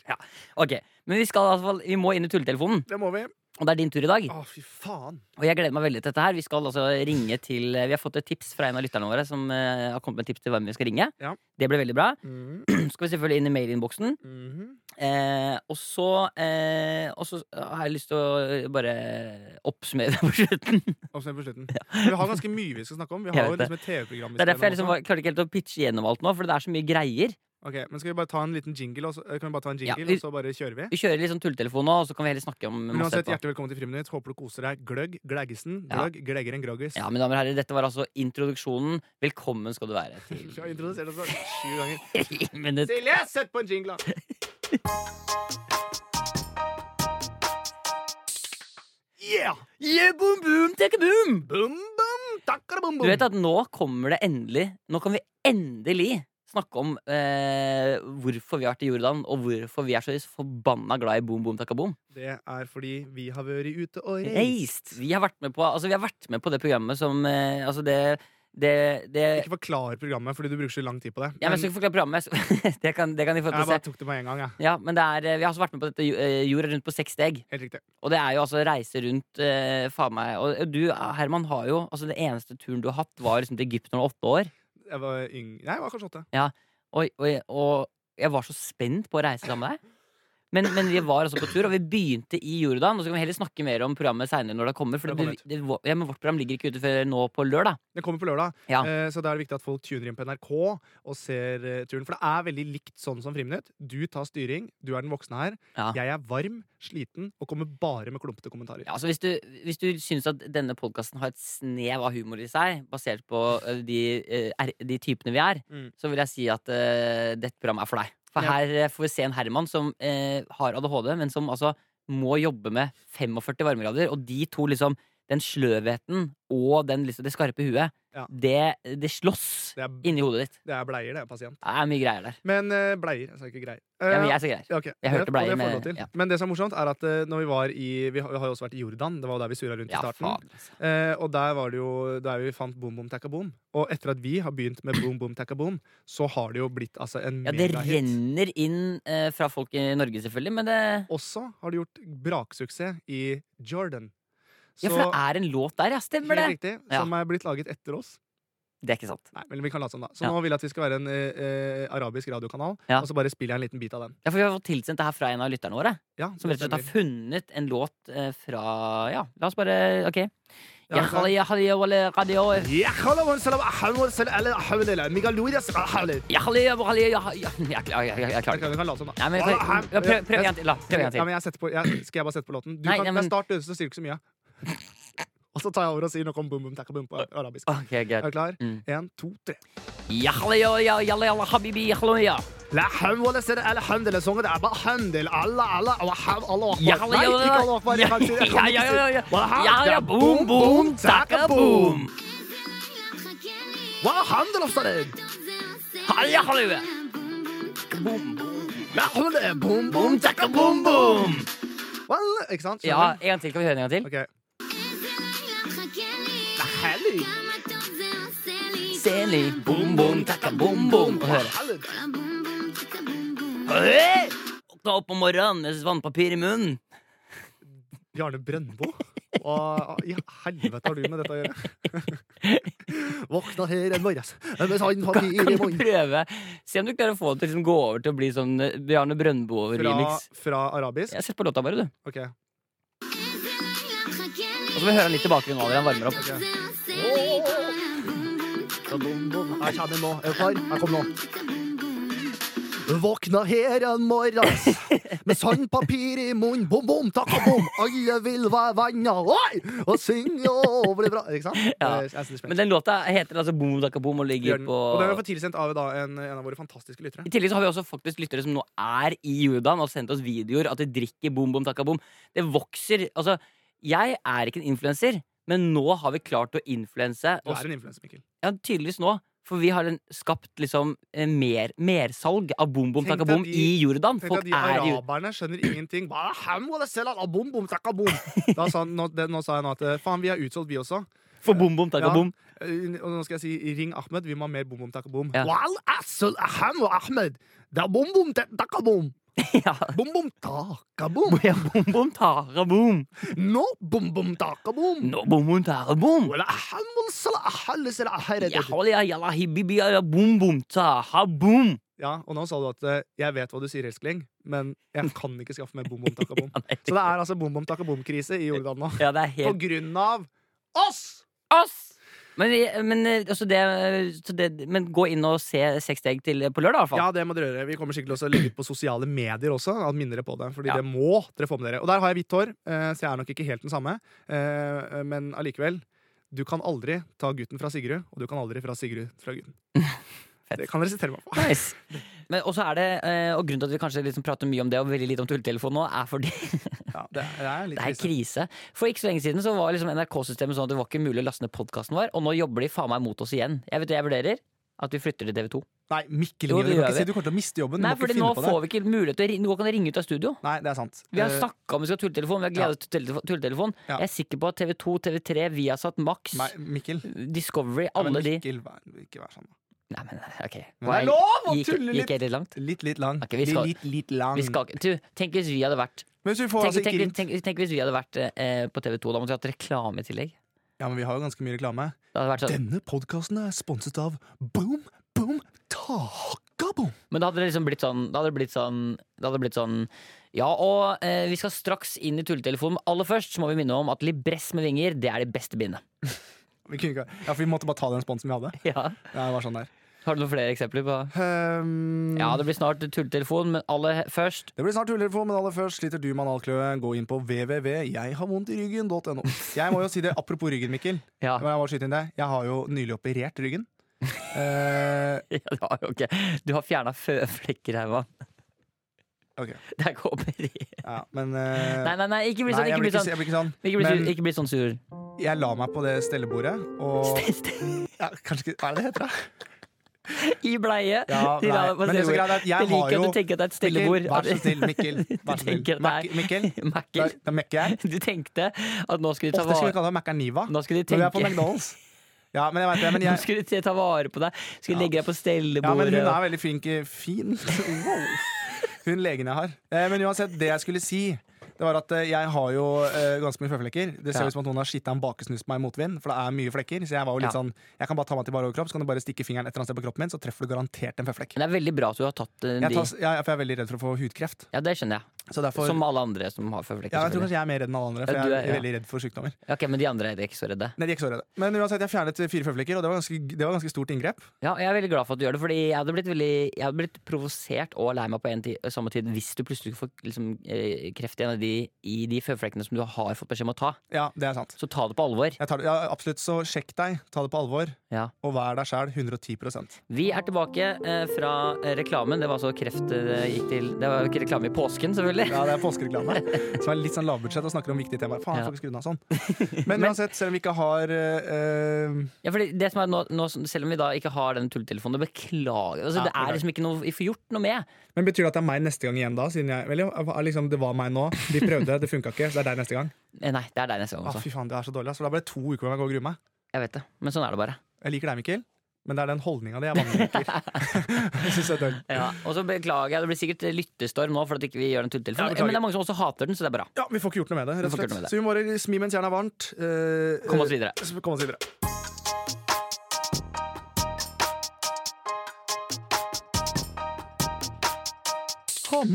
[SPEAKER 1] Ok, Men vi skal i hvert fall, vi må inn i tulletelefonen,
[SPEAKER 2] Det må vi.
[SPEAKER 1] og det er din tur i dag.
[SPEAKER 2] Å, fy faen.
[SPEAKER 1] Og jeg gleder meg veldig til dette her. Vi skal altså ringe til Vi har fått et tips fra en av lytterne våre som eh, har kommet med tips til hvem vi skal ringe.
[SPEAKER 2] Ja.
[SPEAKER 1] Det ble veldig bra.
[SPEAKER 2] Mm,
[SPEAKER 1] skal vi selvfølgelig inn i mailinnboksen.
[SPEAKER 2] mhm.
[SPEAKER 1] Eh, og så eh, Og så har jeg lyst til å bare oppsummere på slutten.
[SPEAKER 2] Og så er det på slutten. Vi har ganske mye vi skal snakke om. Vi
[SPEAKER 1] Jeg
[SPEAKER 2] har jo
[SPEAKER 1] vet det.
[SPEAKER 2] liksom et TV-program. vi
[SPEAKER 1] Det er
[SPEAKER 2] skal
[SPEAKER 1] derfor jeg
[SPEAKER 2] gjennom
[SPEAKER 1] liksom var- klarte ikke helt å pitche gjennom alt nå, for det er så mye greier.
[SPEAKER 2] Ok, men Skal vi bare ta en liten jingle, og så, eh, kan vi bare ta en
[SPEAKER 1] Ja,
[SPEAKER 2] jingle,
[SPEAKER 1] vi-
[SPEAKER 2] og så bare kjører vi?
[SPEAKER 1] Vi kjører litt sånn tulletelefon nå, og så kan vi heller snakke om
[SPEAKER 2] Men
[SPEAKER 1] masse
[SPEAKER 2] Uansett,
[SPEAKER 1] etterpå.
[SPEAKER 2] Hjertelig velkommen til Friminutt. Håper du koser deg. Gløgg, gleggesen,
[SPEAKER 1] Ja.
[SPEAKER 2] gløgg, glegger enn groggis.
[SPEAKER 1] Ja, mine damer og herrer, dette var altså introduksjonen. Velkommen skal du være til
[SPEAKER 2] Vi har introdusert oss sju ganger.
[SPEAKER 1] Friminutt.
[SPEAKER 2] Silje, sett på en jingle! da. Yeah!
[SPEAKER 1] Yeah, boom, boom, take boom!
[SPEAKER 2] Bum, bum, takkara, bum,
[SPEAKER 1] Du
[SPEAKER 2] bum.
[SPEAKER 1] vet at nå kommer det endelig Nå kan vi endelig snakke om eh, hvorfor vi har vært i Jordan, og hvorfor vi er så forbanna glad i boom, boom, takka boom.
[SPEAKER 2] Det er fordi vi har vært ute og
[SPEAKER 1] Reist.
[SPEAKER 2] reist.
[SPEAKER 1] Vi har vært med på, altså, vi har vært med på det programmet som eh, Altså, det, det, det
[SPEAKER 2] Ikke forklar programmet, fordi du bruker så lang tid på det.
[SPEAKER 1] Ja, men jeg skal ikke forklare programmet. jeg skal- Det kan, det kan de få til
[SPEAKER 2] jeg
[SPEAKER 1] å se.
[SPEAKER 2] bare tok det med en gang. jeg.
[SPEAKER 1] Ja, men det er, eh, vi har også vært med på dette jo- eh, Jorda rundt på seks steg.
[SPEAKER 2] Helt riktig.
[SPEAKER 1] Og det er jo altså reise rundt eh, faen meg. Og og du, Herman, har jo altså Den eneste turen du har hatt, var liksom til Egypt når du var åtte år.
[SPEAKER 2] Jeg var yng... Nei, jeg var kanskje åtte.
[SPEAKER 1] Og, og, og jeg var så spent på å reise sammen med deg. Men, men vi var altså på tur, og vi begynte i Jordan. Og så kan vi heller snakke mer om programmet seinere når det kommer. For
[SPEAKER 2] Det kommer
[SPEAKER 1] det, det, ja, men vårt program ligger ikke ute før nå på lørdag.
[SPEAKER 2] Den kommer på lørdag,
[SPEAKER 1] Ja.
[SPEAKER 2] eh, så da er det viktig at folk tuner inn på NRK og ser eh, turen. For det er veldig likt sånn som Friminutt. Du tar styring, du er den voksne her.
[SPEAKER 1] Ja.
[SPEAKER 2] Jeg er varm, sliten og kommer bare med klumpete kommentarer.
[SPEAKER 1] Ja, altså hvis, du, hvis du syns at denne podkasten har et snev av humor i seg, basert på ø, de, ø, er, de typene vi er,
[SPEAKER 2] Mm.
[SPEAKER 1] så vil jeg si at ø, dette programmet er for deg. For
[SPEAKER 2] Ja.
[SPEAKER 1] her ø, får vi se en Herman som ø, har ADHD, men som altså må jobbe med 45 varmegrader, og de to liksom Den sløvheten og den, liksom, det skarpe huet
[SPEAKER 2] Ja.
[SPEAKER 1] det, det slåss
[SPEAKER 2] Det er,
[SPEAKER 1] inni hodet ditt.
[SPEAKER 2] det er bleier, det. er Pasient.
[SPEAKER 1] Det er mye greier der.
[SPEAKER 2] Men eh, bleier. Jeg sa ikke greier.
[SPEAKER 1] Ja, men
[SPEAKER 2] Eh,
[SPEAKER 1] jeg sier greier.
[SPEAKER 2] ja, ok.
[SPEAKER 1] jeg hørte
[SPEAKER 2] Det-
[SPEAKER 1] bleier,
[SPEAKER 2] det får du
[SPEAKER 1] men-
[SPEAKER 2] lov til.
[SPEAKER 1] ja.
[SPEAKER 2] Men det som er morsomt, er at eh, når vi var i Vi har, vi har jo også vært i Jordan. Det var jo der vi surra rundt
[SPEAKER 1] Ja,
[SPEAKER 2] i starten.
[SPEAKER 1] faen. altså.
[SPEAKER 2] Eh, og der var det jo der vi fant Boom Boom Takka Boom. Og etter at vi har begynt med Boom Boom Takka Boom, så har det jo blitt altså en
[SPEAKER 1] Ja, det
[SPEAKER 2] megahit.
[SPEAKER 1] renner inn eh, fra folk i Norge, selvfølgelig, men det
[SPEAKER 2] Også har det gjort braksuksess i Jordan.
[SPEAKER 1] Ja, for det er en låt der, ja. Stemmer det?
[SPEAKER 2] helt riktig,
[SPEAKER 1] Ja.
[SPEAKER 2] som er blitt laget etter oss.
[SPEAKER 1] Det er ikke sant.
[SPEAKER 2] Nei, men vi kan late som da Så
[SPEAKER 1] Ja.
[SPEAKER 2] nå vil jeg at vi skal være en eh, eh, arabisk radiokanal,
[SPEAKER 1] Ja.
[SPEAKER 2] og så bare spiller jeg en liten bit av den.
[SPEAKER 1] Ja, for vi har fått tilsendt det her fra en av lytterne våre.
[SPEAKER 2] Ja,
[SPEAKER 1] Som rett og slett har
[SPEAKER 2] stemmer.
[SPEAKER 1] funnet en låt eh, fra Ja, la oss bare Ok.
[SPEAKER 2] Ja,
[SPEAKER 1] Jeg har- jeg har- jeg har- jeg har- jeg har-
[SPEAKER 2] Ja, hallo, salam, aham, salam, ala, aham, lala, migalorias, aham.
[SPEAKER 1] Jeg har- jeg har- jeg har- jeg klarer jeg- jeg- jeg klarer
[SPEAKER 2] Jeg
[SPEAKER 1] det ikke.
[SPEAKER 2] kan, jeg kan late som da
[SPEAKER 1] Nei, men prøv, ja, prøv, prøv en gang til. La, prøv en gang
[SPEAKER 2] Ja,
[SPEAKER 1] til.
[SPEAKER 2] men jeg setter på, jeg, skal jeg bare sette på låten? Du
[SPEAKER 1] Nei,
[SPEAKER 2] kan,
[SPEAKER 1] nei,
[SPEAKER 2] nei,
[SPEAKER 1] men-
[SPEAKER 2] Start, du, så sier du ikke så mye. Og så tar jeg over og sier noe om boom boom takka boom på arabisk.
[SPEAKER 1] Ok, greit.
[SPEAKER 2] Er du klar?
[SPEAKER 1] Mm.
[SPEAKER 2] Én, to, tre.
[SPEAKER 1] Jeg har- jeg har- jeg har- jeg har- jeg har- habibi, jeg har- jeg har-
[SPEAKER 2] La ham wa la sir ala hamdala songa da ba hamdala alla alla wa ham Allah akbar.
[SPEAKER 1] Ja, ja,
[SPEAKER 2] Nei,
[SPEAKER 1] ja,
[SPEAKER 2] ikke
[SPEAKER 1] ja.
[SPEAKER 2] Allah akbar. Jeg kan ikke si det. Jeg kan
[SPEAKER 1] Ja, ja,
[SPEAKER 2] ikke si
[SPEAKER 1] ja,
[SPEAKER 2] det.
[SPEAKER 1] ja.
[SPEAKER 2] Wa ham-
[SPEAKER 1] Ja, ja,
[SPEAKER 2] da
[SPEAKER 1] boom, boom, takka boom.
[SPEAKER 2] Wa hamdala salam.
[SPEAKER 1] Hei, jeg har- jeg har- Boom.
[SPEAKER 2] La hamdala boom boom takka boom boom. Well, ikke sant?
[SPEAKER 1] Ja, en gang til. Kan vi høre en gang til?
[SPEAKER 2] Ok.
[SPEAKER 1] Seli. Boom, boom, takka, boom, boom. Og høre. Hey! Våkna opp om morgenen med vannpapir i munnen.
[SPEAKER 2] Bjarne Brøndbo? Hva i helvete har du med dette å gjøre? Våkna her en morges med sandpapir
[SPEAKER 1] Kan
[SPEAKER 2] i
[SPEAKER 1] du
[SPEAKER 2] munnen.
[SPEAKER 1] prøve? Se om du klarer å få det til å liksom gå over til å bli sånn eh, Bjarne
[SPEAKER 2] Fra,
[SPEAKER 1] Brøndbo-remix.
[SPEAKER 2] fra arabisk?
[SPEAKER 1] Jeg Sett på låta bare, du.
[SPEAKER 2] Ok.
[SPEAKER 1] Og så må vi høre den litt i bakgrunnen når han varmer opp.
[SPEAKER 2] ok. Her kommer den nå. Er du klar? Her kommer den nå. Våkna her en morges med sandpapir i munnen. Bom, bom, takka, bom. Alle vil være venner. Oi! Og synge og bli bra. Ikke sant? Eh,
[SPEAKER 1] Ja.
[SPEAKER 2] Jeg synes det er spennende.
[SPEAKER 1] Men den låta heter altså Boom Daka Boom og ligger
[SPEAKER 2] Bjørn.
[SPEAKER 1] på
[SPEAKER 2] Og den har vi fått tilsendt av da, en, en av våre fantastiske lyttere.
[SPEAKER 1] I tillegg så har vi også faktisk lyttere som nå er i Jordan og har sendt oss videoer at de drikker boom, boom, takka, boom. Det vokser. Altså, jeg er ikke en influenser, men nå har vi klart å influense.
[SPEAKER 2] Du
[SPEAKER 1] oss-
[SPEAKER 2] er en influenser, Mikkel.
[SPEAKER 1] Ja, tydeligvis nå. For vi har en, skapt liksom eh, mer, mersalg av boom, boom,
[SPEAKER 2] Tenk
[SPEAKER 1] takka,
[SPEAKER 2] deg
[SPEAKER 1] boom
[SPEAKER 2] de-
[SPEAKER 1] i Jordan.
[SPEAKER 2] Tenk
[SPEAKER 1] Folk
[SPEAKER 2] at de
[SPEAKER 1] er i Jordan.
[SPEAKER 2] araberne skjønner ingenting. Bare, "Ham wa la sela la bom, bom, takka, bom." Da sa, han- nå, det, nå sa jeg nå at eh, faen, vi er utsolgt, vi også.
[SPEAKER 1] For boom, boom, takka,
[SPEAKER 2] Ja.
[SPEAKER 1] boom.
[SPEAKER 2] Eh, Og nå skal jeg si ring Ahmed. Vi må ha mer bom, bom, takka, bom.
[SPEAKER 1] Ja.
[SPEAKER 2] Wal asol aham wa altså, Ahmed. Da bom, bom, te- takka, bom.
[SPEAKER 1] Ja.
[SPEAKER 2] Bom, bom, takka, bom.
[SPEAKER 1] ja, boom, boom, takka, boom.
[SPEAKER 2] Nå bom, bom, takka, bom.
[SPEAKER 1] Nå, boom, boom, takka, boom.
[SPEAKER 2] Wala aham wa la sela ahal la sela aharet.
[SPEAKER 1] Ja, ja, ja, la, hibibi, ja, ja, boom, boom, taha, boom.
[SPEAKER 2] Ja, og nå sa du at eh, jeg vet hva du sier, elskling, men jeg kan ikke skaffe mer bom, bom, takka, bom.
[SPEAKER 1] Ja, nei,
[SPEAKER 2] Så det er altså bom, bom, takka, bom-krise i Jordan nå.
[SPEAKER 1] Ja, det er helt
[SPEAKER 2] På grunn av oss!
[SPEAKER 1] oss! Men, vi- men, eh, altså det, så det, men gå inn og se Seks steg til på lørdag, i hvert fall.
[SPEAKER 2] Ja, det må dere gjøre. Vi kommer sikkert også å legge ut på sosiale medier også. At minner dere på det, fordi
[SPEAKER 1] Ja.
[SPEAKER 2] det må dere få med dere. Og der har jeg hvitt hår, eh, så jeg er nok ikke helt den samme. Eh, Men allikevel. Du kan aldri ta gutten fra Sigrud, og du kan aldri fra Sigrud fra gutten.
[SPEAKER 1] Fett.
[SPEAKER 2] Det kan dere sitere meg på.
[SPEAKER 1] Nice. Men også er det, eh, og grunnen til at vi kanskje liksom prater mye om det og veldig lite om tulletelefon nå, er fordi
[SPEAKER 2] Ja, det er, det er litt
[SPEAKER 1] det er
[SPEAKER 2] krise.
[SPEAKER 1] krise. For ikke så lenge siden så var liksom NRK-systemet sånn at det var ikke mulig å laste ned podkasten vår, og nå jobber de faen meg mot oss igjen. Jeg vet det, jeg vurderer at vi flytter til TV2.
[SPEAKER 2] Nei, Mikkel,
[SPEAKER 1] Jo,
[SPEAKER 2] Ingelie,
[SPEAKER 1] det
[SPEAKER 2] du
[SPEAKER 1] gjør
[SPEAKER 2] kan ikke
[SPEAKER 1] vi.
[SPEAKER 2] si du kommer til å miste jobben. Du
[SPEAKER 1] Nei,
[SPEAKER 2] må ikke
[SPEAKER 1] fordi
[SPEAKER 2] finne
[SPEAKER 1] nå
[SPEAKER 2] på det.
[SPEAKER 1] får vi ikke mulighet til å ringe. Nå kan vi ringe ut av studio.
[SPEAKER 2] Nei, det er sant.
[SPEAKER 1] Vi har
[SPEAKER 2] Eh,
[SPEAKER 1] snakka om vi skal ha tulletelefon. Vi har gledet oss til tele- tulletelefon.
[SPEAKER 2] Ja.
[SPEAKER 1] Jeg er sikker på at TV2, TV3, Viasat, Max,
[SPEAKER 2] Nei, Mikkel.
[SPEAKER 1] Discovery,
[SPEAKER 2] Ja, men
[SPEAKER 1] alle de
[SPEAKER 2] Mikkel, vær, ikke vær sånn. da.
[SPEAKER 1] Nei, men ok
[SPEAKER 2] Men det
[SPEAKER 1] Var
[SPEAKER 2] er
[SPEAKER 1] jeg-
[SPEAKER 2] lov å
[SPEAKER 1] Gikk,
[SPEAKER 2] tulle
[SPEAKER 1] gikk
[SPEAKER 2] litt!
[SPEAKER 1] jeg litt langt?
[SPEAKER 2] Litt, litt lang.
[SPEAKER 1] Ok, vi skal-
[SPEAKER 2] Litt, litt lang.
[SPEAKER 1] Vi skal, ikke- du, tenk hvis vi hadde vært
[SPEAKER 2] Men hvis vi får
[SPEAKER 1] Tenk,
[SPEAKER 2] altså ikke
[SPEAKER 1] tenk,
[SPEAKER 2] ringt
[SPEAKER 1] tenk, tenk hvis vi hadde vært eh, på TV 2. Da måtte vi hatt reklame i tillegg.
[SPEAKER 2] Ja, men vi har jo ganske mye reklame.
[SPEAKER 1] Det hadde vært sånn.
[SPEAKER 2] Denne podkasten er sponset av Boom Boom Takaboom.
[SPEAKER 1] Men da hadde det liksom blitt sånn Da hadde det blitt sånn, da hadde det blitt sånn Ja, og eh, vi skal straks inn i tulletelefonen. Men aller først så må vi minne om at libress med vinger, det er det beste bindet.
[SPEAKER 2] Vi kunne ikke, ja, for vi måtte bare ta den sponsen vi hadde.
[SPEAKER 1] Ja.
[SPEAKER 2] Ja, det var sånn der.
[SPEAKER 1] Har du noen flere eksempler på
[SPEAKER 2] Ehm,
[SPEAKER 1] Ja, det blir snart tulletelefon, men aller først
[SPEAKER 2] det blir snart tulletelefon, men aller først sliter du med analkløe. Gå inn på www.jegharvondtiryggen.no. Jeg må jo si det apropos ryggen, Mikkel.
[SPEAKER 1] Ja,
[SPEAKER 2] Jeg må bare skyte inn det. Jeg har jo nylig operert ryggen. Eh,
[SPEAKER 1] ja det var jo ok. Du har fjerna føflekker, Herman.
[SPEAKER 2] Ok.
[SPEAKER 1] Det er ikke opperi.
[SPEAKER 2] Ja, men eh,
[SPEAKER 1] Nei, nei, nei, ikke bli
[SPEAKER 2] nei,
[SPEAKER 1] sånn.
[SPEAKER 2] jeg,
[SPEAKER 1] Ikke
[SPEAKER 2] blir ikke,
[SPEAKER 1] bli sånn,
[SPEAKER 2] jeg blir ikke sånn.
[SPEAKER 1] ikke bli
[SPEAKER 2] men-
[SPEAKER 1] sur. Ikke bli sånn sur.
[SPEAKER 2] Jeg la meg på det stellebordet, og ja, Kanskje ikke Hva er det det heter, da?
[SPEAKER 1] I bleie.
[SPEAKER 2] Ja,
[SPEAKER 1] De la
[SPEAKER 2] nei,
[SPEAKER 1] meg på
[SPEAKER 2] men det som er
[SPEAKER 1] stellebord.
[SPEAKER 2] greit er at jeg har
[SPEAKER 1] Jeg liker
[SPEAKER 2] jo
[SPEAKER 1] at du tenker at det er et stellebord.
[SPEAKER 2] Mikkel, vær så snill, Mikkel. Vær så
[SPEAKER 1] Du tenker
[SPEAKER 2] snill.
[SPEAKER 1] at
[SPEAKER 2] Mac-
[SPEAKER 1] det er-
[SPEAKER 2] Mikkel, da,
[SPEAKER 1] Mac'er.
[SPEAKER 2] da mekker jeg.
[SPEAKER 1] Du tenkte at nå skulle de ta
[SPEAKER 2] Ofte skulle vi
[SPEAKER 1] vare
[SPEAKER 2] kalle det Mac Niva.
[SPEAKER 1] Nå skulle de
[SPEAKER 2] Når vi er på
[SPEAKER 1] tenke
[SPEAKER 2] McDonald's. Ja, men jeg vet det. Men,
[SPEAKER 1] Nå
[SPEAKER 2] jeg,
[SPEAKER 1] skulle de ta vare på deg. Skulle
[SPEAKER 2] Ja.
[SPEAKER 1] legge deg på
[SPEAKER 2] ja, men
[SPEAKER 1] stellebordet.
[SPEAKER 2] hun er veldig flink i- Fin. Wow. Hun legen jeg har. Eh, men uansett, det jeg skulle si det var at eh, Jeg har jo eh, ganske mye føflekker. Det ser
[SPEAKER 1] Ja.
[SPEAKER 2] ut som at noen har skitta en bakesnus på meg i motvind. For det er mye flekker Så jeg var jo litt
[SPEAKER 1] Ja.
[SPEAKER 2] sånn Jeg kan bare ta meg til bare overkropp, så kan du bare stikke fingeren et eller annet sted på kroppen min, så treffer du garantert en føflekk.
[SPEAKER 1] Men det er veldig bra at du har tatt eh,
[SPEAKER 2] Jeg,
[SPEAKER 1] de.
[SPEAKER 2] tar, jeg, for jeg er veldig redd for å få hudkreft.
[SPEAKER 1] Ja, det skjønner jeg.
[SPEAKER 2] Så derfor
[SPEAKER 1] Som alle andre som har føflekker.
[SPEAKER 2] ja, Jeg tror
[SPEAKER 1] selvfølgelig.
[SPEAKER 2] kanskje jeg er mer redd enn alle andre,
[SPEAKER 1] Ja,
[SPEAKER 2] for
[SPEAKER 1] du
[SPEAKER 2] jeg
[SPEAKER 1] er-
[SPEAKER 2] er
[SPEAKER 1] ja.
[SPEAKER 2] veldig redd for sykdommer.
[SPEAKER 1] Ok, Men de andre er ikke så redde.
[SPEAKER 2] Nei, de er ikke så redde. Men uansett, jeg fjernet eh, fire føflekker, og det var ganske, det var ganske stort inngrep.
[SPEAKER 1] Ja, og Jeg er veldig glad for at du gjør det, Fordi jeg hadde blitt, veldig, jeg hadde blitt provosert og lei meg på en ti- samme tid hvis du plutselig får liksom, eh, kreft i en av de, i de føflekkene som du har fått beskjed om å ta.
[SPEAKER 2] Ja, det er sant.
[SPEAKER 1] Så ta det på alvor.
[SPEAKER 2] Jeg tar, det- ja, absolutt, så sjekk deg, ta det på alvor,
[SPEAKER 1] Ja.
[SPEAKER 2] og vær deg sjæl 110
[SPEAKER 1] Vi er tilbake eh, fra eh, reklamen. Det var altså kreft det gikk til Det var jo ikke reklame i påsken, selvfølgelig.
[SPEAKER 2] Ja, Det er påskereklame. Som er litt sånn lavbudsjett og snakker om viktige temaer. Faen, jeg
[SPEAKER 1] Ja.
[SPEAKER 2] får ikke skrudd av sånn. Men uansett, selv om vi ikke har eh,
[SPEAKER 1] Ja, fordi det som er nå, nå, selv om vi da ikke har den tulletelefonen, det beklager altså,
[SPEAKER 2] Ja,
[SPEAKER 1] Det er
[SPEAKER 2] beklager.
[SPEAKER 1] liksom ikke noe vi får gjort noe med.
[SPEAKER 2] Men betyr det at det er meg neste gang igjen da? Siden jeg, vel, ja, liksom, det var meg nå, de prøvde, det funka ikke. Så det er deg neste gang.
[SPEAKER 1] Eh, Nei, det er deg neste gang
[SPEAKER 2] Ah,
[SPEAKER 1] også.
[SPEAKER 2] fy faen, det er så dårlig. ass. For da ble det to uker hvor jeg går og gruer meg.
[SPEAKER 1] Jeg vet det. Men sånn er det bare.
[SPEAKER 2] Jeg liker deg, Mikkel, men det er den holdninga di jeg vanliker. jeg synes det er døll.
[SPEAKER 1] Ja, og så beklager jeg. Det blir sikkert lyttestorm nå for at ikke vi gjør den
[SPEAKER 2] Ja,
[SPEAKER 1] tulletelefonen.
[SPEAKER 2] beklager.
[SPEAKER 1] Men det er mange som også hater den, så det er bra.
[SPEAKER 2] Ja, vi får ikke gjort noe med det.
[SPEAKER 1] Vi
[SPEAKER 2] rett og
[SPEAKER 1] får ikke gjort noe
[SPEAKER 2] slett.
[SPEAKER 1] med det.
[SPEAKER 2] Så vi må bare smi mens jernet er varmt. eh,
[SPEAKER 1] Kom oss
[SPEAKER 2] eh,
[SPEAKER 1] videre.
[SPEAKER 2] så Kom oss videre.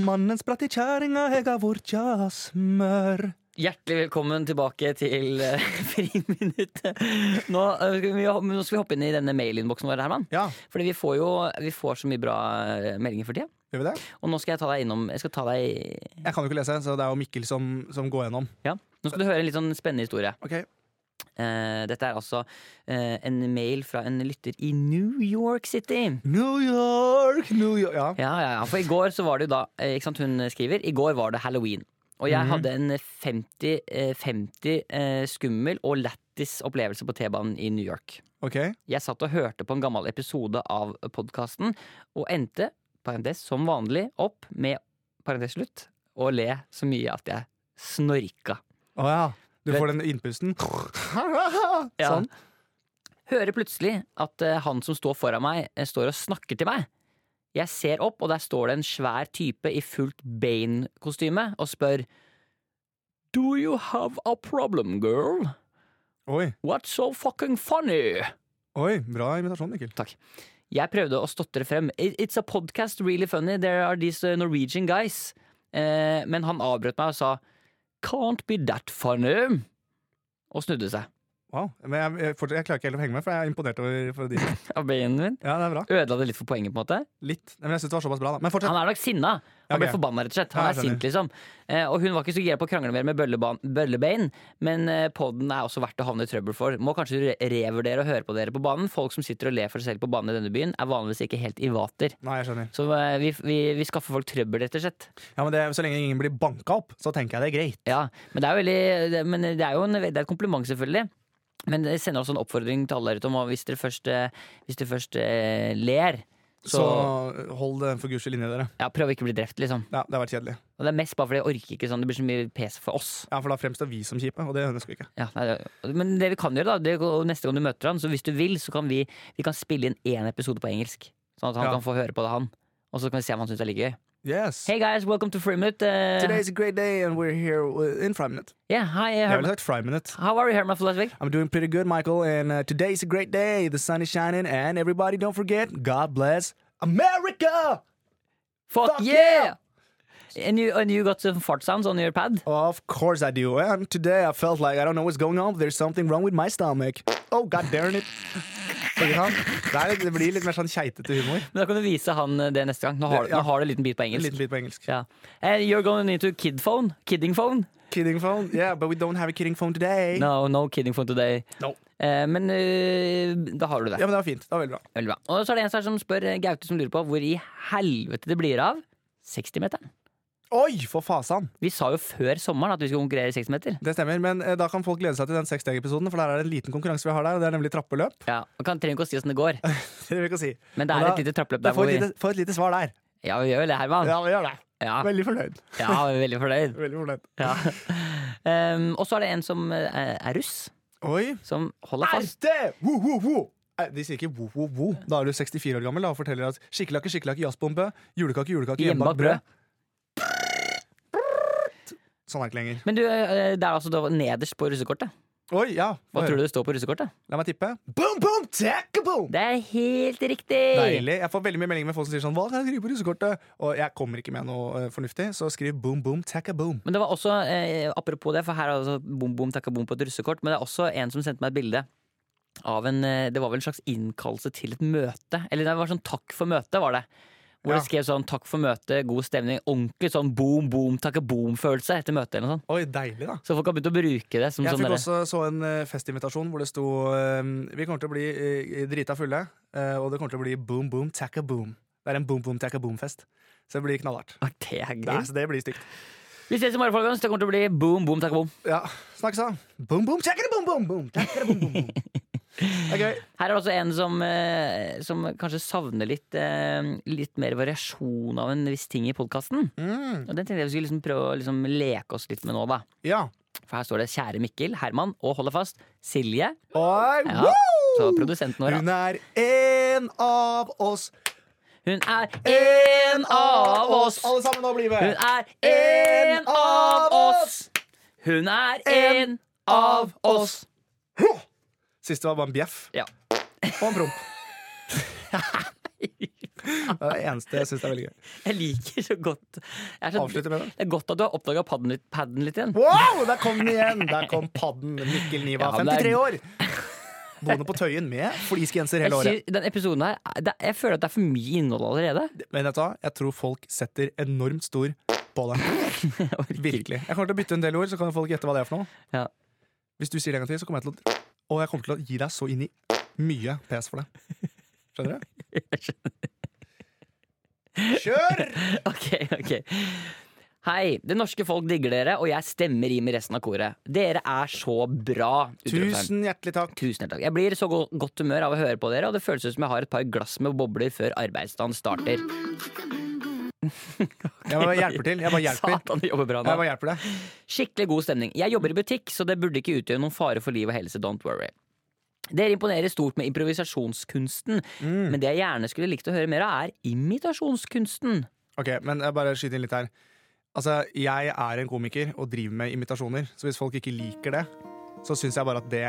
[SPEAKER 2] Mannens spratt i kjerringa, jeg har vortja smør.
[SPEAKER 1] Hjertelig velkommen tilbake til eh, Friminuttet. Nå, eh, skal vi, nå skal vi hoppe inn i denne mailinnboksen vår, Herman.
[SPEAKER 2] Ja,
[SPEAKER 1] Fordi vi får jo vi får så mye bra eh, meldinger for tida.
[SPEAKER 2] gjør vi det?
[SPEAKER 1] Og nå skal jeg ta deg innom Jeg skal ta deg
[SPEAKER 2] Jeg kan jo ikke lese, så det er jo Mikkel som, som går gjennom.
[SPEAKER 1] ja. Nå skal du høre en litt sånn spennende historie.
[SPEAKER 2] Ok,
[SPEAKER 1] Eh, dette er altså eh, en mail fra en lytter i New York City.
[SPEAKER 2] New York, New York Ja,
[SPEAKER 1] Ja, ja, ja. For i går så var det jo da eh, Ikke sant, hun skriver I går var det halloween. Og jeg hadde en 50, eh, 50 eh, skummel og lættis opplevelse på T-banen i New York.
[SPEAKER 2] ok.
[SPEAKER 1] Jeg satt og hørte på en gammel episode av podkasten og endte, parentes som vanlig, opp med parentes slutt, å le så mye at jeg snorka.
[SPEAKER 2] Å ja. Du
[SPEAKER 1] Vet-
[SPEAKER 2] får den innpusten.
[SPEAKER 1] Ja.
[SPEAKER 2] Sånn.
[SPEAKER 1] Hører plutselig at eh, han som står foran meg, eh, står og snakker til meg. Jeg ser opp, og der står det en svær type i fullt Bane-kostyme og spør Do you have a problem, girl?
[SPEAKER 2] Oi,
[SPEAKER 1] What's so fucking funny?
[SPEAKER 2] oi, bra invitasjon, Mikkel.
[SPEAKER 1] Jeg prøvde å stotre frem. "It- It's a podcast, really funny. There are these uh, Norwegian guys. Eh, men han avbrøt meg og sa Can't be that funny. Og snudde seg.
[SPEAKER 2] Wow. Men jeg, jeg, fortsatt, jeg klarer ikke helt å henge med, for jeg er imponert over for de.
[SPEAKER 1] Ja, Bane min.
[SPEAKER 2] Ja, det er bra.
[SPEAKER 1] Ødela det litt for poenget, på en måte.
[SPEAKER 2] Litt. Nei, Men jeg synes det var såpass bra, da. Men fortsett.
[SPEAKER 1] Han er nok sinna. Han ble
[SPEAKER 2] Ok.
[SPEAKER 1] forbanna, rett og slett. Han
[SPEAKER 2] Ja,
[SPEAKER 1] er
[SPEAKER 2] jeg skjønner.
[SPEAKER 1] sint, liksom. Eh, og hun var ikke så gira på å krangle mer med Bølleban- Bøllebein, men eh, podden er også verdt å havne i trøbbel for. Må kanskje re revurdere å høre på dere på banen. Folk som sitter og ler for seg selv på banen i denne byen, er vanligvis ikke helt i vater.
[SPEAKER 2] Nei, jeg skjønner.
[SPEAKER 1] Så eh, vi, vi, vi skaffer folk trøbbel, rett og slett.
[SPEAKER 2] Ja, men det, Så lenge ingen blir banka opp, så tenker jeg det er greit.
[SPEAKER 1] Ja, men det er jo, veldig, det, men det er jo en, det er et kompliment, selvfølgelig. Men det sender også en oppfordring til alle der ute om at hvis dere først, eh, hvis dere først eh, ler,
[SPEAKER 2] Så,
[SPEAKER 1] så
[SPEAKER 2] hold det for guds skyld inni dere.
[SPEAKER 1] ja, prøv å ikke bli drept, liksom.
[SPEAKER 2] Ja, Det har vært kjedelig.
[SPEAKER 1] Og det er mest bare fordi jeg orker ikke sånn. Det blir så mye pes for oss.
[SPEAKER 2] Ja, For da fremstår vi som kjipe, og det ønsker vi ikke.
[SPEAKER 1] Ja, nei, det, men det vi kan gjøre, da, det er å- neste gang du møter han, så hvis du vil, så kan vi, vi kan spille inn én episode på engelsk. Sånn at han
[SPEAKER 2] Ja.
[SPEAKER 1] kan få høre på det, han. Og så kan vi se om han syns det er like gøy.
[SPEAKER 2] Yes.
[SPEAKER 1] Hey guys, welcome to Freemut. Uh,
[SPEAKER 2] Today's a great day, and we're here in five minutes.
[SPEAKER 1] yeah, hi, eh,
[SPEAKER 2] Jeg ville
[SPEAKER 1] Herman.
[SPEAKER 2] sagt five minutes.
[SPEAKER 1] How are you, Herman from Lesvik?
[SPEAKER 2] I'm doing pretty good, Michael, and uh, today's a great day. The sun is shining, and everybody, don't forget, God bless America!
[SPEAKER 1] Fuck,
[SPEAKER 2] Fuck
[SPEAKER 1] yeah! And you, and you got some fart sounds on your pad?
[SPEAKER 2] Of course I do. And today I felt like I don't know what's going on. but There's something wrong with my stomach. Oh, god darn it. Ikke sant? Det, er, litt- det blir litt mer sånn keitete humor.
[SPEAKER 1] Men Da kan du vise han eh, det neste gang. Nå har,
[SPEAKER 2] Ja.
[SPEAKER 1] nå har du en liten bit på
[SPEAKER 2] En
[SPEAKER 1] engelsk.
[SPEAKER 2] liten bit på engelsk.
[SPEAKER 1] Ja. And you're going into kid phone? Kidding phone?
[SPEAKER 2] Kidding phone? Yeah, but we don't have a kidding phone today.
[SPEAKER 1] No, no kidding phone today.
[SPEAKER 2] No.
[SPEAKER 1] Eh, men eh, da har du det.
[SPEAKER 2] Ja, men det var fint. Det var veldig bra.
[SPEAKER 1] Veldig bra. Og så er det en som her som spør eh, Gaute som lurer på hvor i helvete det blir av 60-meteren.
[SPEAKER 2] Oi, for fasan!
[SPEAKER 1] Vi sa jo før sommeren at vi skulle konkurrere i seksmeter.
[SPEAKER 2] Det stemmer, men eh, da kan folk glede seg til den sekssteg-episoden, for der er det en liten konkurranse vi har der, og det er nemlig trappeløp.
[SPEAKER 1] Ja, og kan trenger ikke å si åssen det går,
[SPEAKER 2] Det vil jeg ikke si.
[SPEAKER 1] men det
[SPEAKER 2] Og
[SPEAKER 1] er
[SPEAKER 2] da-
[SPEAKER 1] et lite trappeløp
[SPEAKER 2] Jeg
[SPEAKER 1] der.
[SPEAKER 2] får
[SPEAKER 1] Hvor
[SPEAKER 2] et,
[SPEAKER 1] vi,
[SPEAKER 2] lite, får et lite svar der.
[SPEAKER 1] ja, vi gjør vel det, Herman.
[SPEAKER 2] Ja, vi gjør det.
[SPEAKER 1] Ja,
[SPEAKER 2] Veldig fornøyd.
[SPEAKER 1] ja vi er veldig fornøyd.
[SPEAKER 2] Veldig fornøyd.
[SPEAKER 1] Ja. Ehm, og så er det en som eh, er russ,
[SPEAKER 2] Oi.
[SPEAKER 1] som holder
[SPEAKER 2] Er
[SPEAKER 1] fast.
[SPEAKER 2] det? Wo, wo, wo. Eh, De sier ikke wo, wo, wo. Da er du 64 år gammel da, og forteller at skikkelakke, skikkelakke, jazzbombe, julekake, julekake, hjemmebakt
[SPEAKER 1] Hjemmebakt
[SPEAKER 2] brød. Sånn er det ikke lenger.
[SPEAKER 1] Men du, eh, det er altså da nederst på russekortet.
[SPEAKER 2] Oi, ja.
[SPEAKER 1] Hva tror du det står på russekortet?
[SPEAKER 2] La meg tippe. Boom, boom, takke, boom!
[SPEAKER 1] Det er helt riktig!
[SPEAKER 2] Deilig. Jeg får veldig mye meldinger med folk som sier sånn Hva kan jeg skrive på russekortet? Og jeg kommer ikke med noe eh, fornuftig, så skriv boom, boom, takke, boom.
[SPEAKER 1] Men det var også, eh, apropos det, for her er altså bom, bom, takka, bom på et russekort, men det er også en som sendte meg et bilde av en eh, Det var vel en slags innkallelse til et møte. Eller det var sånn takk for møtet, var det. Hvor
[SPEAKER 2] Ja.
[SPEAKER 1] det skrev sånn takk for møtet, god stemning. Ordentlig sånn boom, boom, takka, boom-følelse etter møtet eller noe sånt.
[SPEAKER 2] Oi, deilig, da.
[SPEAKER 1] Så folk har begynt å bruke det som
[SPEAKER 2] Jeg
[SPEAKER 1] sånn
[SPEAKER 2] fikk
[SPEAKER 1] derre
[SPEAKER 2] også så en eh, festinvitasjon hvor det sto eh, Vi kommer til å bli eh, drita fulle, eh, og det kommer til å bli boom boom takka boom. Det er en boom boom takka boom-fest. Så det blir knallhardt.
[SPEAKER 1] Å, Det er
[SPEAKER 2] Det,
[SPEAKER 1] gøy.
[SPEAKER 2] så det blir stygt.
[SPEAKER 1] Vi ses i morgen, folkens. Det kommer til å bli boom, boom, takka, boom.
[SPEAKER 2] Ja, Snakkes, da. Boom boom takka boom boom boom. Takka boom boom boom. Det er gøy.
[SPEAKER 1] Her er det også en som, eh, som kanskje savner litt, eh, litt mer variasjon av en viss ting i podkasten.
[SPEAKER 2] Mm,
[SPEAKER 1] Og Den tenkte jeg vi skulle liksom prøve å liksom leke oss litt med nå, da.
[SPEAKER 2] ja.
[SPEAKER 1] For her står det 'Kjære Mikkel, Herman og holde fast, Silje'.
[SPEAKER 2] Oi,
[SPEAKER 1] Ja, så
[SPEAKER 2] woo!
[SPEAKER 1] produsenten vår. da.
[SPEAKER 2] Hun er en av oss.
[SPEAKER 1] Hun er en av oss!
[SPEAKER 2] Alle sammen, nå blir
[SPEAKER 1] Hun
[SPEAKER 2] med.
[SPEAKER 1] er en av oss! Hun er en av oss!
[SPEAKER 2] Siste var bare en bjeff
[SPEAKER 1] Ja.
[SPEAKER 2] og en promp. Det er det eneste jeg syns er veldig gøy.
[SPEAKER 1] Jeg liker så godt jeg er så,
[SPEAKER 2] Avslutte med det.
[SPEAKER 1] Det er godt at du har oppdaga padden, litt- padden litt igjen.
[SPEAKER 2] Wow, der kom den igjen! Der kom padden. Mikkel Niva,
[SPEAKER 1] Ja, men det
[SPEAKER 2] 53
[SPEAKER 1] er-
[SPEAKER 2] år. Boende på Tøyen med fleecegenser
[SPEAKER 1] Jeg
[SPEAKER 2] hele året.
[SPEAKER 1] sier, den episoden her, det, jeg føler at det er for mye innhold allerede.
[SPEAKER 2] Men vet du hva? Jeg tror folk setter enormt stor på det.
[SPEAKER 1] Jeg orker ikke.
[SPEAKER 2] Virkelig. Jeg kommer til å bytte en del ord, så kan folk gjette hva det er for noe.
[SPEAKER 1] Ja.
[SPEAKER 2] Hvis du sier det en gang til, så kommer jeg til å Og jeg kommer til å gi deg så inn i mye pes for det. Skjønner du? Kjør!
[SPEAKER 1] Ok, ok Hei, det norske folk digger dere, og jeg stemmer i med resten av koret. Dere er så bra! utropstegn.
[SPEAKER 2] Tusen hjertelig takk.
[SPEAKER 1] Tusen takk. Jeg blir i så go godt humør av å høre på dere, og det føles ut som jeg har et par glass med bobler før arbeidsdagen starter.
[SPEAKER 2] Jeg bare hjelper til. Jeg bare hjelper.
[SPEAKER 1] Satan, det jobber bra
[SPEAKER 2] Jeg
[SPEAKER 1] nå.
[SPEAKER 2] bare hjelper deg.
[SPEAKER 1] Skikkelig god stemning. Jeg jobber i butikk, så det burde ikke utgjøre noen fare for liv og helse. Don't worry. Dere imponerer stort med improvisasjonskunsten,
[SPEAKER 2] Mm.
[SPEAKER 1] men det jeg gjerne skulle likt å høre mer av, er imitasjonskunsten.
[SPEAKER 2] Ok, men jeg bare skyter inn litt her. Altså, jeg er en komiker og driver med imitasjoner, så hvis folk ikke liker det, så syns jeg bare at det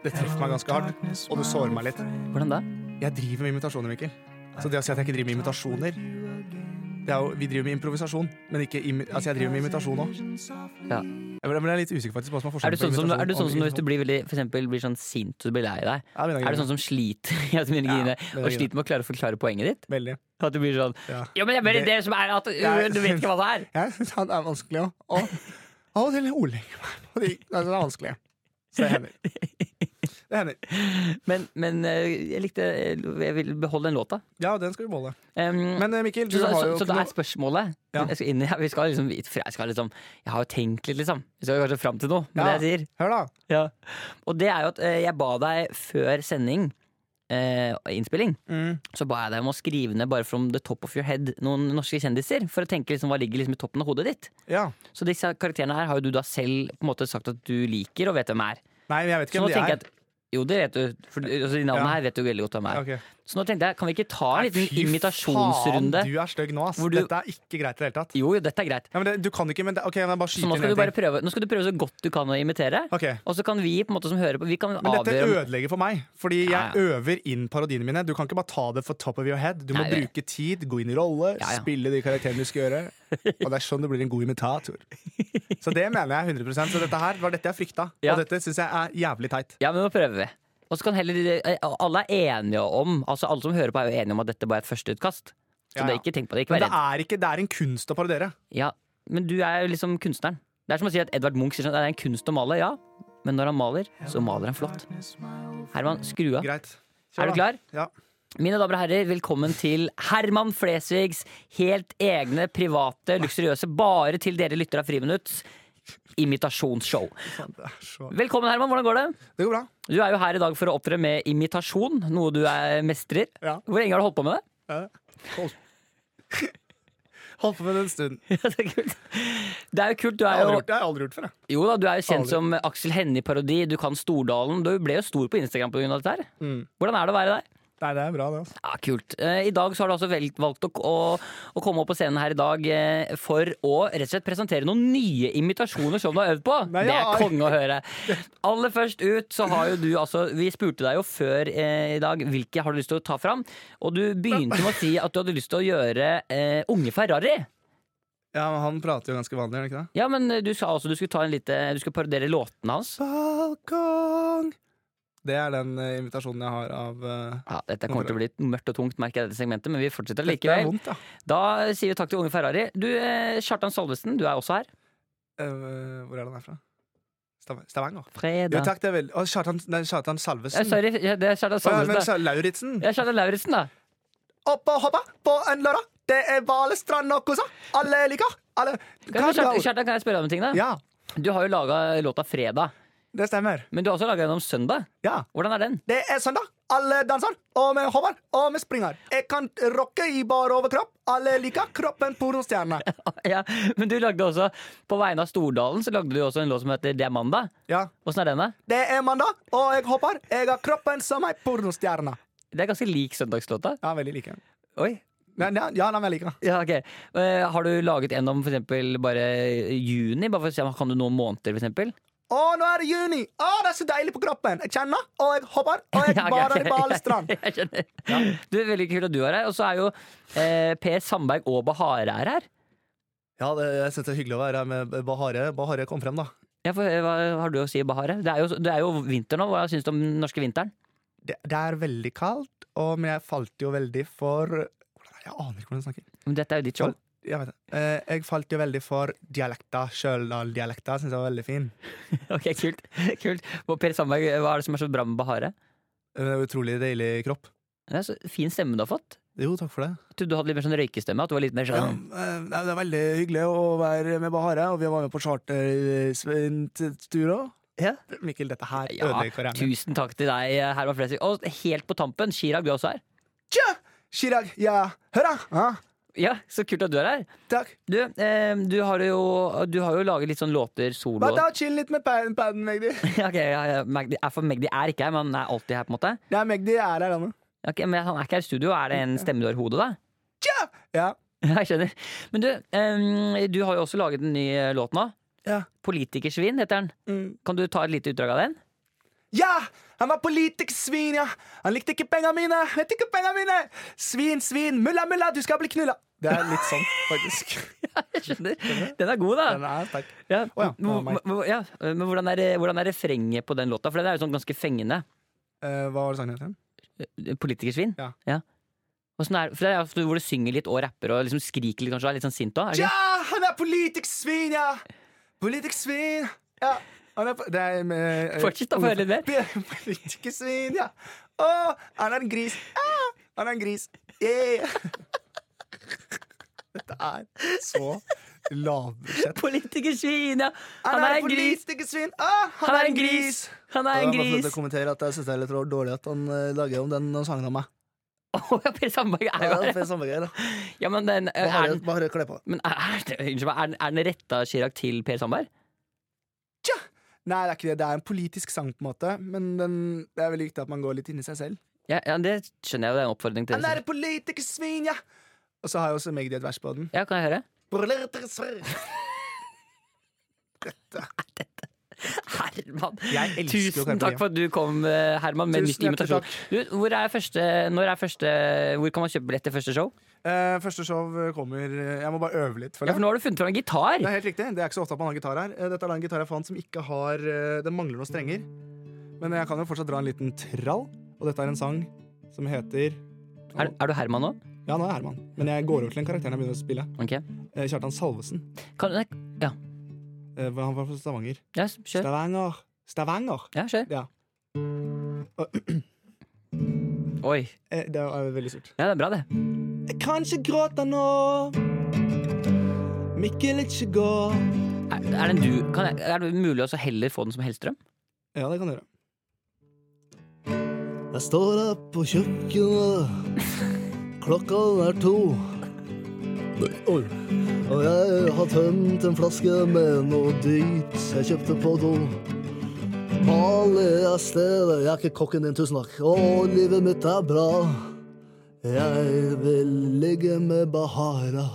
[SPEAKER 2] Det treffer meg ganske hardt, og du sårer meg litt.
[SPEAKER 1] Hvordan da?
[SPEAKER 2] Jeg driver med imitasjoner, Mikkel. Så det å si at jeg ikke driver med imitasjoner det er jo, Vi driver med improvisasjon, men ikke imi altså jeg driver med imitasjon òg.
[SPEAKER 1] Ja.
[SPEAKER 2] Jeg ble- jeg ble litt usikker faktisk på hva som er
[SPEAKER 1] Er du
[SPEAKER 2] forskjellen
[SPEAKER 1] sånn som, er du sånn som
[SPEAKER 2] og
[SPEAKER 1] hvis du blir, veldig, for eksempel, blir sånn sint og blir lei deg?
[SPEAKER 2] imitasjon? Ja, det
[SPEAKER 1] Er du sånn som sliter ja, det begynner å
[SPEAKER 2] det
[SPEAKER 1] grine,
[SPEAKER 2] begynner å
[SPEAKER 1] og
[SPEAKER 2] grine.
[SPEAKER 1] sliter med å klare å forklare poenget ditt?
[SPEAKER 2] Veldig.
[SPEAKER 1] At du blir sånn
[SPEAKER 2] Ja.
[SPEAKER 1] Ja, men det er bare
[SPEAKER 2] Det-
[SPEAKER 1] det som er at
[SPEAKER 2] Ja,
[SPEAKER 1] du vet ikke hva det er!
[SPEAKER 2] Jeg syns han er vanskelig å å- Av og til ordlegge meg på de Nei, det er vanskelig. Så det hender. Det hender.
[SPEAKER 1] Men, men eh, jeg likte Jeg vil beholde den låta.
[SPEAKER 2] Ja, den skal vi beholde.
[SPEAKER 1] Em,
[SPEAKER 2] Men eh, Mikkel, du
[SPEAKER 1] så,
[SPEAKER 2] har
[SPEAKER 1] så,
[SPEAKER 2] jo
[SPEAKER 1] så
[SPEAKER 2] ikke
[SPEAKER 1] det
[SPEAKER 2] noe
[SPEAKER 1] er spørsmålet.
[SPEAKER 2] Ja.
[SPEAKER 1] Jeg, skal inn, i- vi skal liksom, hit fra- jeg, skal liksom, jeg har jo tenkt litt, liksom. Vi skal kanskje fram til noe
[SPEAKER 2] Ja.
[SPEAKER 1] med det jeg sier.
[SPEAKER 2] Hør, da.
[SPEAKER 1] Og det er jo at eh, jeg ba deg før sending, eh, innspilling,
[SPEAKER 2] Mm.
[SPEAKER 1] så ba jeg deg om å skrive ned bare from the top of your head noen norske kjendiser. For å tenke liksom, hva ligger liksom, i toppen av hodet ditt.
[SPEAKER 2] Ja.
[SPEAKER 1] Så disse karakterene her har jo du da selv på en måte sagt at du liker og vet hvem er.
[SPEAKER 2] Nei, men jeg vet
[SPEAKER 1] Så
[SPEAKER 2] ikke
[SPEAKER 1] nå
[SPEAKER 2] hvem de
[SPEAKER 1] tenker jeg
[SPEAKER 2] er.
[SPEAKER 1] at Jo, det vet du. For altså, de navnene
[SPEAKER 2] Ja.
[SPEAKER 1] her vet du veldig godt hvem er.
[SPEAKER 2] Ok.
[SPEAKER 1] Så nå tenkte jeg, kan vi ikke ta en liten
[SPEAKER 2] Fy
[SPEAKER 1] imitasjonsrunde?
[SPEAKER 2] Faen, du er stygg nå, ass.
[SPEAKER 1] Hvor du-
[SPEAKER 2] Dette er ikke greit i det hele tatt.
[SPEAKER 1] Jo, jo, dette er greit.
[SPEAKER 2] Ja, men det, du kan ikke, men det, ok, men jeg bare
[SPEAKER 1] Så
[SPEAKER 2] skyter
[SPEAKER 1] nå skal,
[SPEAKER 2] ned
[SPEAKER 1] du bare prøve, nå skal du prøve så godt du kan å imitere.
[SPEAKER 2] Ok.
[SPEAKER 1] Og så kan vi på en måte som hører på Vi kan
[SPEAKER 2] Men dette
[SPEAKER 1] avgjøre om-
[SPEAKER 2] ødelegger for meg, fordi jeg
[SPEAKER 1] Ja, ja.
[SPEAKER 2] øver inn parodiene mine. Du kan ikke bare ta det for top of your head. Du må
[SPEAKER 1] Nei, det-
[SPEAKER 2] bruke tid, gå inn i rolle,
[SPEAKER 1] Ja, ja.
[SPEAKER 2] spille de karakterene du skal gjøre. Og det er sånn du blir en god imitator. Så det mener jeg 100 Så dette her var dette jeg frykta.
[SPEAKER 1] Ja.
[SPEAKER 2] Og dette syns jeg er jævlig teit.
[SPEAKER 1] Ja, men nå prøver vi. Og så kan heller eh, Alle er enige om Altså alle som hører på, er jo enige om at dette bare er et førsteutkast. Så
[SPEAKER 2] Ja,
[SPEAKER 1] det
[SPEAKER 2] ja.
[SPEAKER 1] er ikke tenk på det. Ikke
[SPEAKER 2] Men
[SPEAKER 1] vær
[SPEAKER 2] det
[SPEAKER 1] redd.
[SPEAKER 2] er, ikke, det er en kunst å parodiere.
[SPEAKER 1] Ja, men du er jo liksom kunstneren. Det er som å si at Edvard Munch sier sånn Det er en kunst å male, ja. Men når han maler, så maler han flott. Herman, skru av.
[SPEAKER 2] Greit.
[SPEAKER 1] Er du klar?
[SPEAKER 2] Ja.
[SPEAKER 1] Mine damer og herrer, velkommen til Herman Flesvigs helt egne, private, luksuriøse, bare til dere lytter av Friminutts, imitasjonsshow.
[SPEAKER 2] Faen, Det, er så...
[SPEAKER 1] Velkommen, Herman. Hvordan går det?
[SPEAKER 2] det går bra.
[SPEAKER 1] Du er jo her i dag for å opptre med imitasjon, noe du er mestrer.
[SPEAKER 2] Ja.
[SPEAKER 1] Hvor lenge har du holdt på med det?
[SPEAKER 2] Ja. Hold. Holdt på med det en stund. Jeg
[SPEAKER 1] Ja, det er kult. Det er jo kult. Du
[SPEAKER 2] har
[SPEAKER 1] er
[SPEAKER 2] aldri
[SPEAKER 1] jo,
[SPEAKER 2] gjort det, jeg har aldri gjort det før. jeg.
[SPEAKER 1] jo da, du er jo kjent
[SPEAKER 2] Aldri.
[SPEAKER 1] som Aksel Hennie-parodi. Du kan Stordalen. Du ble jo stor på Instagram pga. dette her.
[SPEAKER 2] Mm.
[SPEAKER 1] Hvordan er det å være der?
[SPEAKER 2] Nei, det er bra, det. altså.
[SPEAKER 1] Ja, Kult. Eh, I dag så har du altså vel- valgt å, å, å komme opp på scenen her i dag eh, for å rett og slett presentere noen nye imitasjoner som du har øvd på.
[SPEAKER 2] Nei,
[SPEAKER 1] det
[SPEAKER 2] ja,
[SPEAKER 1] er konge å høre. Aller først ut så har jo du altså Vi spurte deg jo før eh, i dag hvilke har du lyst til å ta fram, og du begynte med å si at du hadde lyst til å gjøre eh, Unge Ferrari.
[SPEAKER 2] Ja, men Han prater jo ganske vanlig, gjør han ikke det?
[SPEAKER 1] Ja, men du sa altså du skulle ta en lite Du skulle parodiere låtene hans.
[SPEAKER 2] Balkong Det er den eh, invitasjonen jeg har av eh,
[SPEAKER 1] Ja, dette kommer til å bli mørkt og tungt, merker jeg i dette segmentet, men vi fortsetter
[SPEAKER 2] Dette er
[SPEAKER 1] likevel.
[SPEAKER 2] vondt, ja.
[SPEAKER 1] Da sier vi takk til Unge Ferrari. Du, eh, Kjartan Salvesen, du er også her.
[SPEAKER 2] Eh, hvor er den her fra? Stav- Stavanger. Jo,
[SPEAKER 1] Fredag.
[SPEAKER 2] takk, det er vel Å, Kjartan, nei, Kjartan
[SPEAKER 1] Eh,
[SPEAKER 2] Salvesen.
[SPEAKER 1] sorry, ja, det er Kjartan
[SPEAKER 2] Å, ja, men
[SPEAKER 1] Salvesen.
[SPEAKER 2] Kjartan Lauritzen.
[SPEAKER 1] Ja, Kjartan Lauritzen, da.
[SPEAKER 2] Opp og hoppa på en lørdag. Det er Vale strand og kosa. Alle liker alle
[SPEAKER 1] Kan jeg, Kjartan, Kjartan, kan jeg spørre deg om en ting? da?
[SPEAKER 2] Ja,
[SPEAKER 1] Du har jo laga låta 'Fredag',
[SPEAKER 2] det stemmer.
[SPEAKER 1] men du har også laga den om søndag.
[SPEAKER 2] Ja.
[SPEAKER 1] Hvordan er den?
[SPEAKER 2] Det er søndag. Alle danser, og vi hopper, og vi springer. Jeg kan rocke i bar overkropp. Alle liker kroppen porostjerne.
[SPEAKER 1] Ah, Ja, men du lagde også, På vegne av Stordalen så lagde du også en låt som heter 'Det er mandag'.
[SPEAKER 2] Ja.
[SPEAKER 1] Åssen er den, da?
[SPEAKER 2] Det er mandag, og jeg hopper. Jeg har kroppen som ei pornostjerne.
[SPEAKER 1] Det er ganske lik søndagslåta.
[SPEAKER 2] Ja, veldig like.
[SPEAKER 1] Oi.
[SPEAKER 2] Men, ja, ja, den er veldig like.
[SPEAKER 1] Ja, ok. Eh, Har du laget en om for eksempel bare juni? Bare for å se om Kan du noen måneder, for eksempel?
[SPEAKER 2] Å, nå er det juni! Å, det er så deilig på kroppen! Jeg kjenner, og jeg hopper, og jeg
[SPEAKER 1] Ja, ok,
[SPEAKER 2] bader
[SPEAKER 1] ok.
[SPEAKER 2] i Balestrand.
[SPEAKER 1] Jeg skjønner. Du, Veldig kult at du er her. Og så er jo eh, Per Sandberg og Bahare er her.
[SPEAKER 2] Ja, det, jeg syns det er hyggelig å være her med Bahare. Bahare kom frem, da.
[SPEAKER 1] Ja, for, eh, hva har du å si, Bahare? Det er jo, det er jo vinter nå. Hva syns du om den norske vinteren?
[SPEAKER 2] Det, det er veldig kaldt, og men jeg falt jo veldig for Hvordan er det? Jeg aner ikke hvordan jeg snakker.
[SPEAKER 1] Men Dette er jo ditt show.
[SPEAKER 2] Jeg vet det. Eh, jeg falt jo veldig for dialekta. Stjørdal-dialekta syns jeg var veldig fin.
[SPEAKER 1] Ok, kult. kult. Og Per Sandberg, hva er det som er så bra med Bahare?
[SPEAKER 2] Eh, Det er utrolig deilig kropp.
[SPEAKER 1] Det er så fin stemme du har fått.
[SPEAKER 2] Jo, takk for det.
[SPEAKER 1] Jeg trodde du hadde litt mer sånn røykestemme. At du var litt mer
[SPEAKER 2] Ja,
[SPEAKER 1] sånn
[SPEAKER 2] eh, nei, det er veldig hyggelig å være med Bahare, og vi var med på eh, chartertur òg.
[SPEAKER 1] Ja.
[SPEAKER 2] Mikkel, dette her
[SPEAKER 1] Ja,
[SPEAKER 2] ødelegger karrieren. min.
[SPEAKER 1] Tusen takk til deg, Herman Flesvig. Og helt på tampen, Chirag, du er også her.
[SPEAKER 2] Tja! Chirag, ja, hør da! Ja,
[SPEAKER 1] Ja, så kult at du er her.
[SPEAKER 2] takk.
[SPEAKER 1] Du, eh, du, har jo, du har jo laget litt sånn låter solo.
[SPEAKER 2] Bare ta og chill litt med paden, paden Magdi.
[SPEAKER 1] Ja, ok, ja, ja. Magdi, er for Magdi er ikke her, men han er alltid her. på en måte
[SPEAKER 2] Nei, Magdi er her, han nå.
[SPEAKER 1] Ja, ok, Men han er ikke her i studio. Er det en stemme du har i hodet, da?
[SPEAKER 2] Tja! Ja.
[SPEAKER 1] Ja, Jeg skjønner. Men du, em, du har jo også laget en ny eh, låt nå.
[SPEAKER 2] Ja.
[SPEAKER 1] Politikersvin heter den.
[SPEAKER 2] Mm.
[SPEAKER 1] Kan du ta et lite utdrag av den?
[SPEAKER 2] ja! Han var politikersvin, ja. Han likte ikke penga mine. Vet ikke penga mine. Svin, svin. Mulla, mulla, du skal bli knulla. Det er litt sånn, faktisk.
[SPEAKER 1] Jeg skjønner. Den er god,
[SPEAKER 2] Den
[SPEAKER 1] da.
[SPEAKER 2] er sterk.
[SPEAKER 1] Ja.
[SPEAKER 2] Å ja, det var meg.
[SPEAKER 1] Hvor- hvor- ja, Men hvordan er, det- hvordan er refrenget på den låta? For den er jo sånn ganske fengende.
[SPEAKER 2] Eh, hva var det sangen het igjen?
[SPEAKER 1] Eh, Politikersvin.
[SPEAKER 2] Ja.
[SPEAKER 1] Åssen er, for det er ofte hvor du synger litt og rapper og liksom skriker litt, kanskje. og Er litt sånn sint òg?
[SPEAKER 2] Ja, han er politikersvin, ja. Politikersvin. Ja. Han er, po- det er med, eh,
[SPEAKER 1] Fortsett da, få høre litt mer.
[SPEAKER 2] Politikersvin, ja. Å, han er en gris. Ah, han er en gris. Yeah. Dette er så lavbudsjett.
[SPEAKER 1] Politikersvin, ja! Han er en gris!
[SPEAKER 2] politikersvin. Ah,
[SPEAKER 1] Han er en gris! Han er en gris!
[SPEAKER 2] kommentere at jeg syns altså, det er litt dårlig at han eh, lager om den sangen om meg.
[SPEAKER 1] Å ja, Per Sandberg er jo her. Ja, men den, er den,
[SPEAKER 2] Bare kle på.
[SPEAKER 1] men er, er, det- unnskyld meg, er, den- er den retta Chirag til Per Sandberg?
[SPEAKER 2] Tja! Nei, det er ikke det. Det er en politisk sang, på en måte. Men den, det er veldig viktig at man går litt inn i seg selv.
[SPEAKER 1] Ja, ja, det skjønner jeg jo, det er en oppfordring til
[SPEAKER 2] Han er
[SPEAKER 1] det.
[SPEAKER 2] et politikersvin, ja! Og så har jeg også Magdi et vers på den.
[SPEAKER 1] Ja, kan jeg høre?
[SPEAKER 2] Dette
[SPEAKER 1] Herman!
[SPEAKER 2] Jeg elsker jo
[SPEAKER 1] Tusen
[SPEAKER 2] Carpe
[SPEAKER 1] takk
[SPEAKER 2] Diem.
[SPEAKER 1] for at du kom, eh, Herman, med
[SPEAKER 2] Tusen
[SPEAKER 1] nytt
[SPEAKER 2] hjertelig
[SPEAKER 1] invitasjon. Du, hvor, er første, når er første, hvor kan man kjøpe billett til første show?
[SPEAKER 2] Eh, første show kommer eh, Jeg må bare øve litt.
[SPEAKER 1] Ja,
[SPEAKER 2] føler
[SPEAKER 1] for
[SPEAKER 2] jeg.
[SPEAKER 1] nå har du funnet fram en gitar!
[SPEAKER 2] Det er helt riktig. Det er ikke så ofte at man har gitar her. Eh, Dette er da en gitar jeg fant som ikke har eh, Den mangler noen strenger. Men jeg kan jo fortsatt dra en liten trall. Og dette er en sang som heter
[SPEAKER 1] Er, er du Herman nå?
[SPEAKER 2] Ja, nå er jeg Herman. Men jeg går over til den karakteren jeg begynner å spille.
[SPEAKER 1] Ok.
[SPEAKER 2] Eh, Kjartan Salvesen.
[SPEAKER 1] Kan, nei, ja.
[SPEAKER 2] Eh, Han var fra Stavanger.
[SPEAKER 1] ja, kjør.
[SPEAKER 2] Stavanger. Stavanger.
[SPEAKER 1] Ja, kjør.
[SPEAKER 2] Ja.
[SPEAKER 1] Oi.
[SPEAKER 2] Eh, Det er veldig surt.
[SPEAKER 1] Ja, det er bra, det.
[SPEAKER 3] Kanskje gråter nå. Mikkel, ikke gå.
[SPEAKER 1] Er, er, den du, kan jeg, er det mulig å så heller få den som Hellstrøm?
[SPEAKER 2] Ja, det kan du gjøre.
[SPEAKER 3] Jeg står her på kjøkkenet. Klokka er to. Oi. Og jeg har tømt en flaske med noe dyrt jeg kjøpte på do. Alle er stedet, jeg er ikke kokken din, tusen takk. Og livet mitt er bra. Jeg vil ligge med Bahara.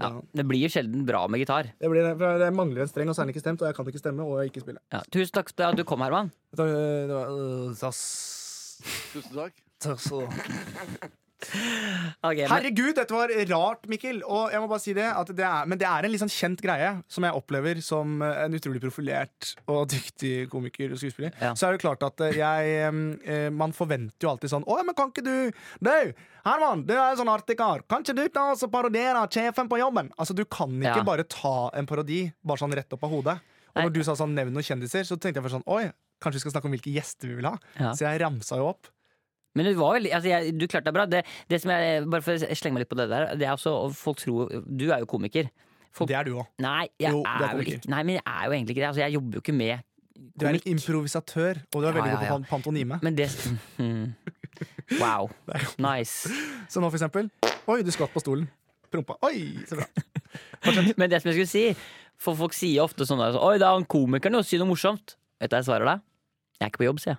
[SPEAKER 1] Ja, Det blir sjelden bra med gitar.
[SPEAKER 2] Det, blir, for det mangler en streng, og så er den ikke stemt, og jeg kan ikke stemme, og jeg ikke spille.
[SPEAKER 1] Ja, tusen takk for at du kom, Herman.
[SPEAKER 2] Det var, det var, øh, sass.
[SPEAKER 4] Tusen takk.
[SPEAKER 2] Sass og-
[SPEAKER 1] Okay, men,
[SPEAKER 2] Herregud, dette var rart, Mikkel. Og jeg må bare si det, at det er, men det er en litt sånn kjent greie som jeg opplever som eh, en utrolig profilert og dyktig komiker og skuespiller.
[SPEAKER 1] Ja.
[SPEAKER 2] Så er det jo klart at eh, jeg em, eh, Man forventer jo alltid sånn Å, ja, men kan ikke du Du, Herman, du er en sånn artig kar. Kan ikke du ta og så parodiere sjefen på jobben? Altså, du kan ikke
[SPEAKER 1] Ja.
[SPEAKER 2] bare ta en parodi bare sånn rett opp av hodet. Og
[SPEAKER 1] Nei.
[SPEAKER 2] når du sa sånn nevn noen kjendiser, så tenkte jeg først sånn Oi, kanskje vi skal snakke om hvilke gjester vi vil ha.
[SPEAKER 1] Ja.
[SPEAKER 2] Så jeg ramsa jo opp.
[SPEAKER 1] men du, var veldig, altså, jeg, du klarte deg bra. Det, det som jeg, bare for å slenge meg litt på det der, det er også folk tror Du er jo komiker. Folk-
[SPEAKER 2] Det er du òg.
[SPEAKER 1] Nei, jeg
[SPEAKER 2] Jo, du er
[SPEAKER 1] er vel
[SPEAKER 2] komiker.
[SPEAKER 1] ikke, nei, men jeg er jo egentlig ikke det. Altså, jeg jobber jo ikke med
[SPEAKER 2] Du er en
[SPEAKER 1] komikk.
[SPEAKER 2] improvisatør, og du er
[SPEAKER 1] Ja,
[SPEAKER 2] veldig
[SPEAKER 1] ja, ja.
[SPEAKER 2] god på pan- pantonime.
[SPEAKER 1] Men det Mhm. Wow. Nice.
[SPEAKER 2] Så nå for eksempel Oi, du skvatt på stolen. Prompa. Oi, så bra.
[SPEAKER 1] Men det som jeg skulle si For folk sier ofte sånn der, så, Oi, det er han komikeren jo, si noe morsomt Vet du hva jeg svarer deg? Jeg er ikke på jobb, sier jeg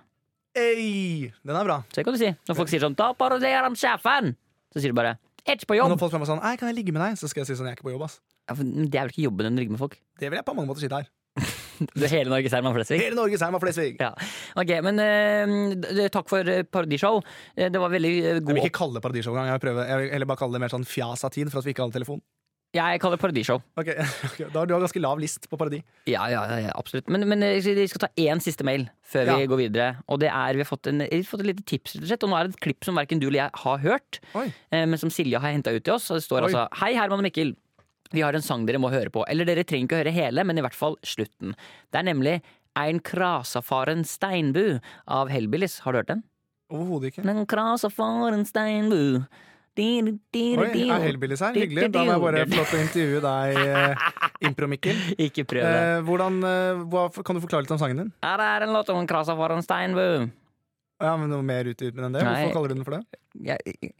[SPEAKER 2] Ei, den er bra.
[SPEAKER 1] Så det kan du si Når folk sier sånn Da paroderer han sjefen Så sier du bare Jeg er ikke på
[SPEAKER 2] Og
[SPEAKER 1] jobb
[SPEAKER 2] når folk spør meg sånn Ei, kan jeg ligge med deg? Så skal jeg si sånn, jeg er ikke på jobb, ass.
[SPEAKER 1] ja, for Det er vel ikke jobben den ligger med folk
[SPEAKER 2] Det vil jeg på mange måter si der.
[SPEAKER 1] Det er hele Norges Herman Flesvig
[SPEAKER 2] Hele Norges Heim av Flesvig.
[SPEAKER 1] ja. Ok, men eh, d- d- takk for eh, parodishow Eh, Det var veldig eh,
[SPEAKER 2] Jeg
[SPEAKER 1] god
[SPEAKER 2] vil
[SPEAKER 1] opp
[SPEAKER 2] ikke kalle det paradishow engang. Jeg, vil prøve- jeg vil heller bare kalle det mer sånn fjas av tid for at vi ikke hadde telefon.
[SPEAKER 1] Jeg kaller det parodishow
[SPEAKER 2] Ok, ok, Da har du ganske lav list på parodi.
[SPEAKER 1] Ja, ja, ja, ja, absolutt. Men, men eh, vi skal ta én siste mail før vi
[SPEAKER 2] Ja.
[SPEAKER 1] går videre. Og det er, Vi har fått, en, vi har fått et lite tips, rett og slett. Og nå er det et klipp som verken du eller jeg har hørt,
[SPEAKER 2] Oi.
[SPEAKER 1] eh, men som Silje har henta ut til oss. Og det står
[SPEAKER 2] Oi.
[SPEAKER 1] altså Hei, Herman og Mikkel. Vi har en sang dere må høre på. Eller dere trenger ikke å høre hele, men i hvert fall slutten. Det er nemlig Ein krasafaren steinbu av Hellbillies. Har du hørt den?
[SPEAKER 2] Overhodet ikke.
[SPEAKER 1] Den krasafaren steinbu. Di, di, di,
[SPEAKER 2] Oi,
[SPEAKER 1] di.
[SPEAKER 2] er Hellbillies her? Hyggelig. Da må jeg bare få lov til å intervjue deg, eh, Impro-Mikkel.
[SPEAKER 1] Ikke prøv det.
[SPEAKER 2] Eh, hvordan, eh, hva, kan du forklare litt om sangen din?
[SPEAKER 1] Her er en låt om en krasafaren steinbu.
[SPEAKER 2] Ja, men Noe mer ut ut med den det?
[SPEAKER 1] Nei.
[SPEAKER 2] Hvorfor kaller du den for det?
[SPEAKER 1] Jeg,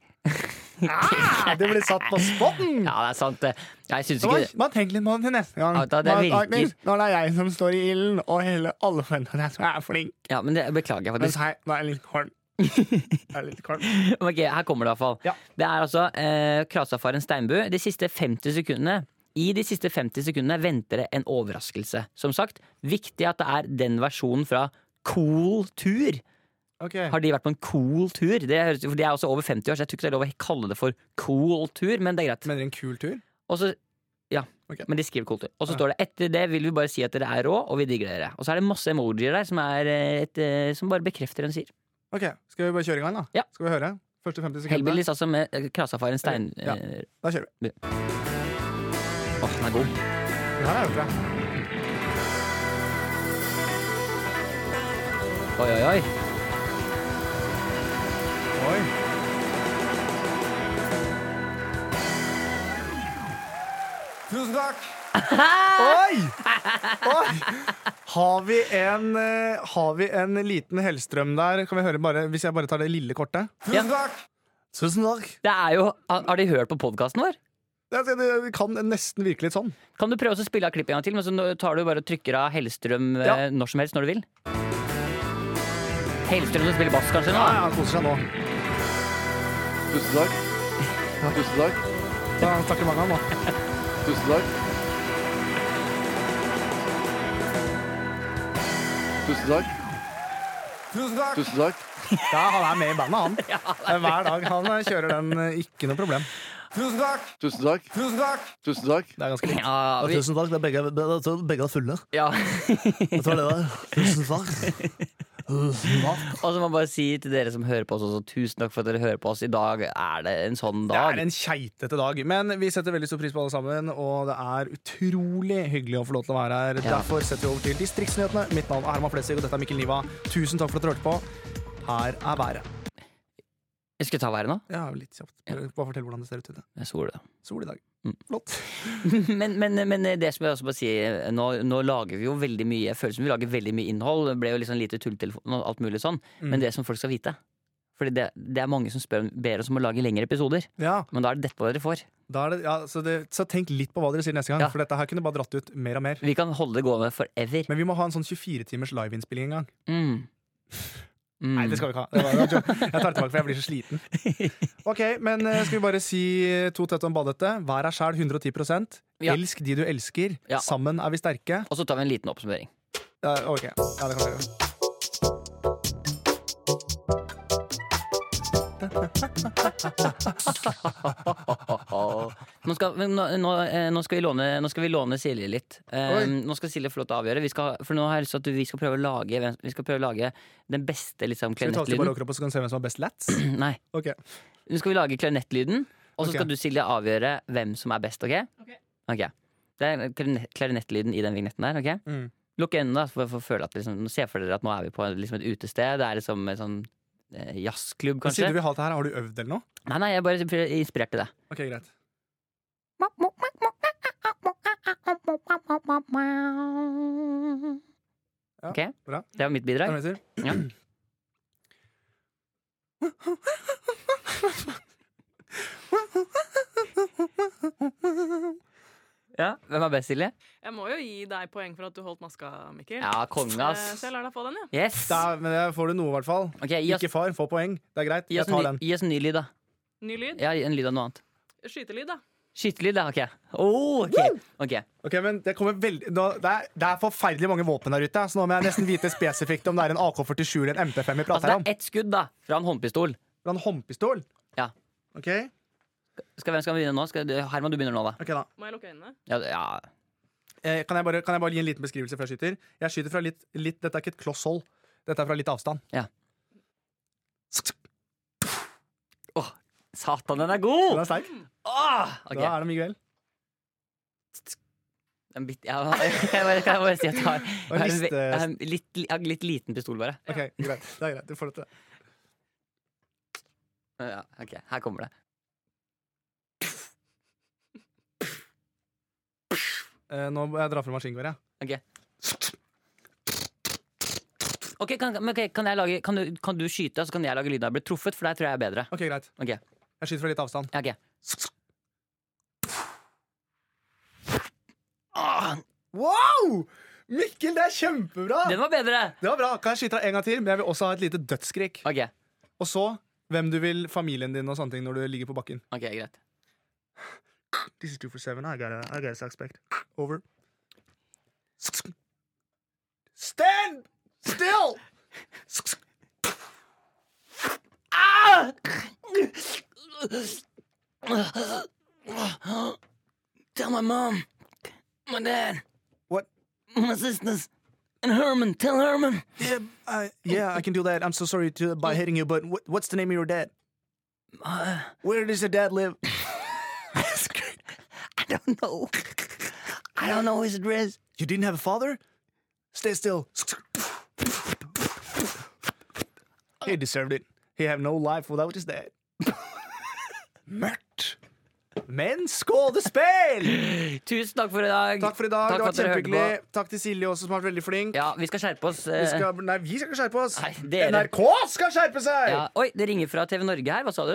[SPEAKER 2] Ah, det blir satt på spotten!
[SPEAKER 1] Ja, det er sant. det. Jeg syns ikke
[SPEAKER 2] Oi,
[SPEAKER 1] det.
[SPEAKER 2] man tenker litt på det til neste gang.
[SPEAKER 1] Ja, da, det
[SPEAKER 2] Man-
[SPEAKER 1] virker.
[SPEAKER 2] Agnes, Nå er det jeg som står i ilden, og hele alle forventer at jeg er flink.
[SPEAKER 1] Ja, men det beklager jeg
[SPEAKER 2] Mens
[SPEAKER 1] faktisk.
[SPEAKER 2] jeg nå er jeg litt kvalm. Jeg er litt kvalm.
[SPEAKER 1] Ok, Her kommer det iallfall.
[SPEAKER 2] Ja.
[SPEAKER 1] Det er altså eh, Krasafaren Steinbu. De siste 50 sekundene I de siste 50 sekundene venter det en overraskelse. Som sagt, viktig at det er den versjonen fra Cool Tur.
[SPEAKER 2] Ok.
[SPEAKER 1] Har de vært på en cool tur? Det høres, for De er også over 50 år, så jeg tror ikke det er lov å kalle det for cool tur, men det er greit.
[SPEAKER 2] Mener du en kul tur?
[SPEAKER 1] Og så ja,
[SPEAKER 2] Ok.
[SPEAKER 1] men de skriver cool tur. Og så står det etter det vil vi bare si at dere er rå, og vi digger dere. Og så er det masse emojier der som, er eh, et, eh, som bare bekrefter det hun sier.
[SPEAKER 2] Ok, Skal vi bare kjøre i gang, da?
[SPEAKER 1] Ja.
[SPEAKER 2] Skal vi høre? Første 50 sekundene?
[SPEAKER 1] Hellbillies altså med eh, krasafaren Stein...
[SPEAKER 2] Ja.
[SPEAKER 1] eh,
[SPEAKER 2] Da kjører vi.
[SPEAKER 1] Åh, den er god.
[SPEAKER 2] Det her er jo bra.
[SPEAKER 1] Oi, oi, oi.
[SPEAKER 2] Oi. Tusen takk! Oi! Oi! Har vi en, eh, har vi en liten Hellstrøm der? Kan vi høre bare, Hvis jeg bare tar det lille kortet?
[SPEAKER 1] Ja.
[SPEAKER 2] takk! Tusen takk!
[SPEAKER 1] Det er jo, har har de hørt på podkasten vår?
[SPEAKER 2] Jeg sier det- det kan nesten virke litt sånn.
[SPEAKER 1] Kan du prøve å spille av klippet en gang til, men så nå tar du bare og trykker av Hellstrøm eh,
[SPEAKER 2] Ja.
[SPEAKER 1] når som helst når du vil? Hellstrøm som spiller bass, kanskje? nå?
[SPEAKER 2] Ja, ja, han koser seg nå.
[SPEAKER 4] Tusen takk. Tusen takk.
[SPEAKER 2] Så han snakker mange ganger nå.
[SPEAKER 4] Tusen takk. Tusen takk.
[SPEAKER 2] Tusen takk!
[SPEAKER 4] Tusen takk.
[SPEAKER 2] Ja, han er med i bandet, han. Hver dag. Han eh, kjører den eh, ikke noe problem. Tusen takk!
[SPEAKER 4] Tusen takk.
[SPEAKER 2] Tusen takk!
[SPEAKER 4] Tusen takk.
[SPEAKER 2] Det er ganske likt.
[SPEAKER 1] Ja, vi,
[SPEAKER 3] Tusen takk, det er begge, det er, begge er fulle.
[SPEAKER 1] ja.
[SPEAKER 3] Jeg tror det var Tusen takk. Tusen takk.
[SPEAKER 1] Og så må jeg bare si til dere som hører på oss også, tusen takk for at dere hører på oss. I dag er det en sånn
[SPEAKER 2] Det er
[SPEAKER 1] dag.
[SPEAKER 2] en keitete dag, men vi setter veldig stor pris på alle sammen. Og det er utrolig hyggelig å få lov til å være her.
[SPEAKER 1] Ja.
[SPEAKER 2] Derfor setter vi over til Distriktsnyhetene. Mitt navn er Herman Flesvig, og dette er Mikkel Niva. Tusen takk for at dere hørte på. Her er været.
[SPEAKER 1] Jeg skal ta været nå.
[SPEAKER 2] Ja, litt kjapt. Bare bare fortell hvordan det ser ut ute.
[SPEAKER 1] Jeg svor det.
[SPEAKER 2] Sol i dag.
[SPEAKER 1] Mm.
[SPEAKER 2] Flott.
[SPEAKER 1] Men, men, men det som jeg også bare sier, nå, nå lager vi jo veldig mye Jeg føler som vi lager veldig mye innhold. Det ble jo litt sånn lite tulletelefon og alt mulig sånn.
[SPEAKER 2] Mm.
[SPEAKER 1] Men det som folk skal vite Fordi det, det er mange som spør, ber oss om å lage lengre episoder.
[SPEAKER 2] Ja,
[SPEAKER 1] Men da er det dette dere får.
[SPEAKER 2] da er det, ja så, det, så tenk litt på hva dere sier neste gang,
[SPEAKER 1] Ja.
[SPEAKER 2] for dette her kunne bare dratt ut mer og mer.
[SPEAKER 1] Vi kan holde det gående forever.
[SPEAKER 2] Men vi må ha en sånn 24-timers liveinnspilling en gang.
[SPEAKER 1] Mm. Mm.
[SPEAKER 2] Nei, det skal vi ikke ha. Det var, det var joke. jeg tar det tilbake, for jeg blir så sliten. Ok, men eh, Skal vi bare si eh, to tett om badehette? Vær deg sjæl 110
[SPEAKER 1] Ja.
[SPEAKER 2] Elsk de du elsker.
[SPEAKER 1] Ja.
[SPEAKER 2] Sammen er vi sterke.
[SPEAKER 1] Og så tar vi en liten oppsummering.
[SPEAKER 2] Ja, ok, ja, det kan vi gjøre.
[SPEAKER 1] Nå skal, men nå, nå, eh, nå skal vi låne, nå skal vi låne Silje litt. Eh,
[SPEAKER 2] Oi.
[SPEAKER 1] nå skal Silje få lov til å avgjøre. Vi skal, for nå har jeg lyst til at vi skal prøve å lage, hvem- vi skal prøve å lage den beste liksom,
[SPEAKER 2] Skal vi ta oss til
[SPEAKER 1] klarinettlyden.
[SPEAKER 2] bare overkropp og så kan vi se hvem som har best lats?
[SPEAKER 1] Nei.
[SPEAKER 2] Ok,
[SPEAKER 1] Nå skal vi lage klarinettlyden, og så
[SPEAKER 2] Ok.
[SPEAKER 1] skal du, Silje, avgjøre hvem som er best, OK? Ok. Det er klarinett- klarinettlyden i den vignetten der, OK?
[SPEAKER 2] Mm.
[SPEAKER 1] Lukk øynene, da, for, for å føle at liksom, nå ser for dere at nå er vi på liksom, et utested. Det er liksom en sånn eh, jazzklubb,
[SPEAKER 2] Men Siden
[SPEAKER 1] kanskje.
[SPEAKER 2] du vil ha dette her, har du øvd eller noe?
[SPEAKER 1] Nei, nei, jeg bare ble inspirert til det.
[SPEAKER 2] Ok, greit.
[SPEAKER 1] Ok?
[SPEAKER 2] bra.
[SPEAKER 1] Det var mitt
[SPEAKER 2] Er det
[SPEAKER 1] bidrag.
[SPEAKER 2] noe jeg sier?
[SPEAKER 1] Ja. Ja, Hvem er best, Silje?
[SPEAKER 5] Jeg må jo gi deg poeng for at du holdt maska, Mikkel.
[SPEAKER 1] Ja, konge,
[SPEAKER 5] Eh,
[SPEAKER 1] ass.
[SPEAKER 5] Så jeg lar deg få den, jeg.
[SPEAKER 1] Yes!
[SPEAKER 2] Da, men der får du noe, i hvert fall.
[SPEAKER 1] Ok, gi oss,
[SPEAKER 2] Ikke far, få poeng. Det er greit.
[SPEAKER 1] gi,
[SPEAKER 2] Jeg
[SPEAKER 1] oss
[SPEAKER 2] tar
[SPEAKER 1] en
[SPEAKER 2] den.
[SPEAKER 1] ny, gi oss en ny lyd, da.
[SPEAKER 5] Ny lyd.
[SPEAKER 1] Ja, en lyd av noe annet.
[SPEAKER 5] Skytelyd, da.
[SPEAKER 1] Skytelyd, da. Ok. Oh, ok. ok.
[SPEAKER 2] Ok, men Det kommer veldig nå, det, er, det er forferdelig mange våpen der ute, så nå må jeg nesten vite spesifikt om det er en AK-47 eller en MP5 vi
[SPEAKER 1] Altså,
[SPEAKER 2] prater om.
[SPEAKER 1] det er ett skudd, da, fra en håndpistol.
[SPEAKER 2] Eller en håndpistol.
[SPEAKER 1] Ja.
[SPEAKER 2] Ok,
[SPEAKER 1] Skal, hvem skal begynne nå? Skal, du- Herman, du begynner nå, da.
[SPEAKER 2] ok da
[SPEAKER 5] Må jeg lukke øynene?
[SPEAKER 1] Ja, ja.
[SPEAKER 2] eh, kan, jeg bare, kan jeg bare gi en liten beskrivelse før jeg skyter? Jeg skyter fra litt, litt Dette er ikke et kloss hold. Dette er fra litt avstand.
[SPEAKER 1] Ja. Åh, satan, den er god!
[SPEAKER 2] Den er sterk.
[SPEAKER 1] Åh, ok.
[SPEAKER 2] Da er det Miguel.
[SPEAKER 1] En bit, ja, jeg, bare, kan jeg bare si at jeg har, jeg har, en,
[SPEAKER 2] liste-
[SPEAKER 1] ve- jeg har en litt, jeg har en litt liten pistol, bare.
[SPEAKER 2] Ok, greit. Det er greit. Du får det til. det.
[SPEAKER 1] Ja, ok, Her kommer det.
[SPEAKER 2] Eh, nå må jeg dra fra maskingeværet. jeg.
[SPEAKER 1] Ok. Ok, Kan, men ok, kan, jeg lage, kan, du, kan du skyte, og så kan jeg lage lyden av å bli truffet? For der tror jeg jeg er bedre.
[SPEAKER 2] Ok, greit.
[SPEAKER 1] Ok.
[SPEAKER 2] Jeg skyter fra litt avstand.
[SPEAKER 1] Ja, ok. Åh,
[SPEAKER 2] Wow! Mikkel, det er kjempebra!
[SPEAKER 1] den var bedre!
[SPEAKER 2] Det var bra. Kan jeg skyte deg en gang til? Men jeg vil også ha et lite dødsskrik.
[SPEAKER 1] Ok,
[SPEAKER 2] Og så hvem du vil, familien din og sånne ting når du ligger på bakken.
[SPEAKER 1] ok, greit.
[SPEAKER 2] This is two for seven. I got a, I got a suspect. Over. Stand still!
[SPEAKER 1] Ah. Tell my mom, my dad,
[SPEAKER 2] What?
[SPEAKER 1] my sisters, and Herman. Tell Herman.
[SPEAKER 2] Yeah, I, yeah, I can do that. I'm so sorry to, by hitting you, but what, what's the name of your dad?
[SPEAKER 1] Uh,
[SPEAKER 2] Where does your dad live?
[SPEAKER 1] I don't know. I don't know his address.
[SPEAKER 2] You didn't have a father? Stay still. He deserved it. He had no life without his dad. Mørkt. Men skådespill!
[SPEAKER 1] Tusen takk for i dag.
[SPEAKER 2] Takk for i dag. det
[SPEAKER 1] Takk for
[SPEAKER 2] var
[SPEAKER 1] at dere hørte
[SPEAKER 2] kjempehyggelig.
[SPEAKER 1] på.
[SPEAKER 2] Takk til Silje også, som har vært veldig flink.
[SPEAKER 1] Ja, vi skal skjerpe oss.
[SPEAKER 2] Vi
[SPEAKER 1] eh,
[SPEAKER 2] skal, nei, vi skal ikke skjerpe oss!
[SPEAKER 1] Nei, dere.
[SPEAKER 2] NRK skal skjerpe seg!
[SPEAKER 1] ja. Oi, det ringer fra TV Norge her. Hva sa du?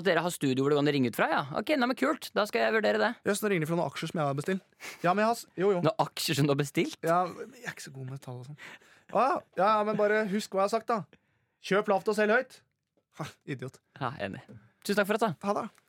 [SPEAKER 1] At dere har studio hvor det kan ringe ut fra? ja Ok, nei, men Kult. Da skal jeg vurdere det.
[SPEAKER 2] Jøss, nå ringer de fra noen aksjer som jeg har bestilt. Ja, men jeg har s- Jo, jo.
[SPEAKER 1] Noen aksjer som du har bestilt?
[SPEAKER 2] Ja, men jeg er ikke så god med tall og sånn. Å ja, ja, men bare husk hva jeg har sagt, da. Kjøp lavt og selg høyt. Ha, idiot.
[SPEAKER 1] Ja, enig. Tusen takk for at da.
[SPEAKER 2] Ha det.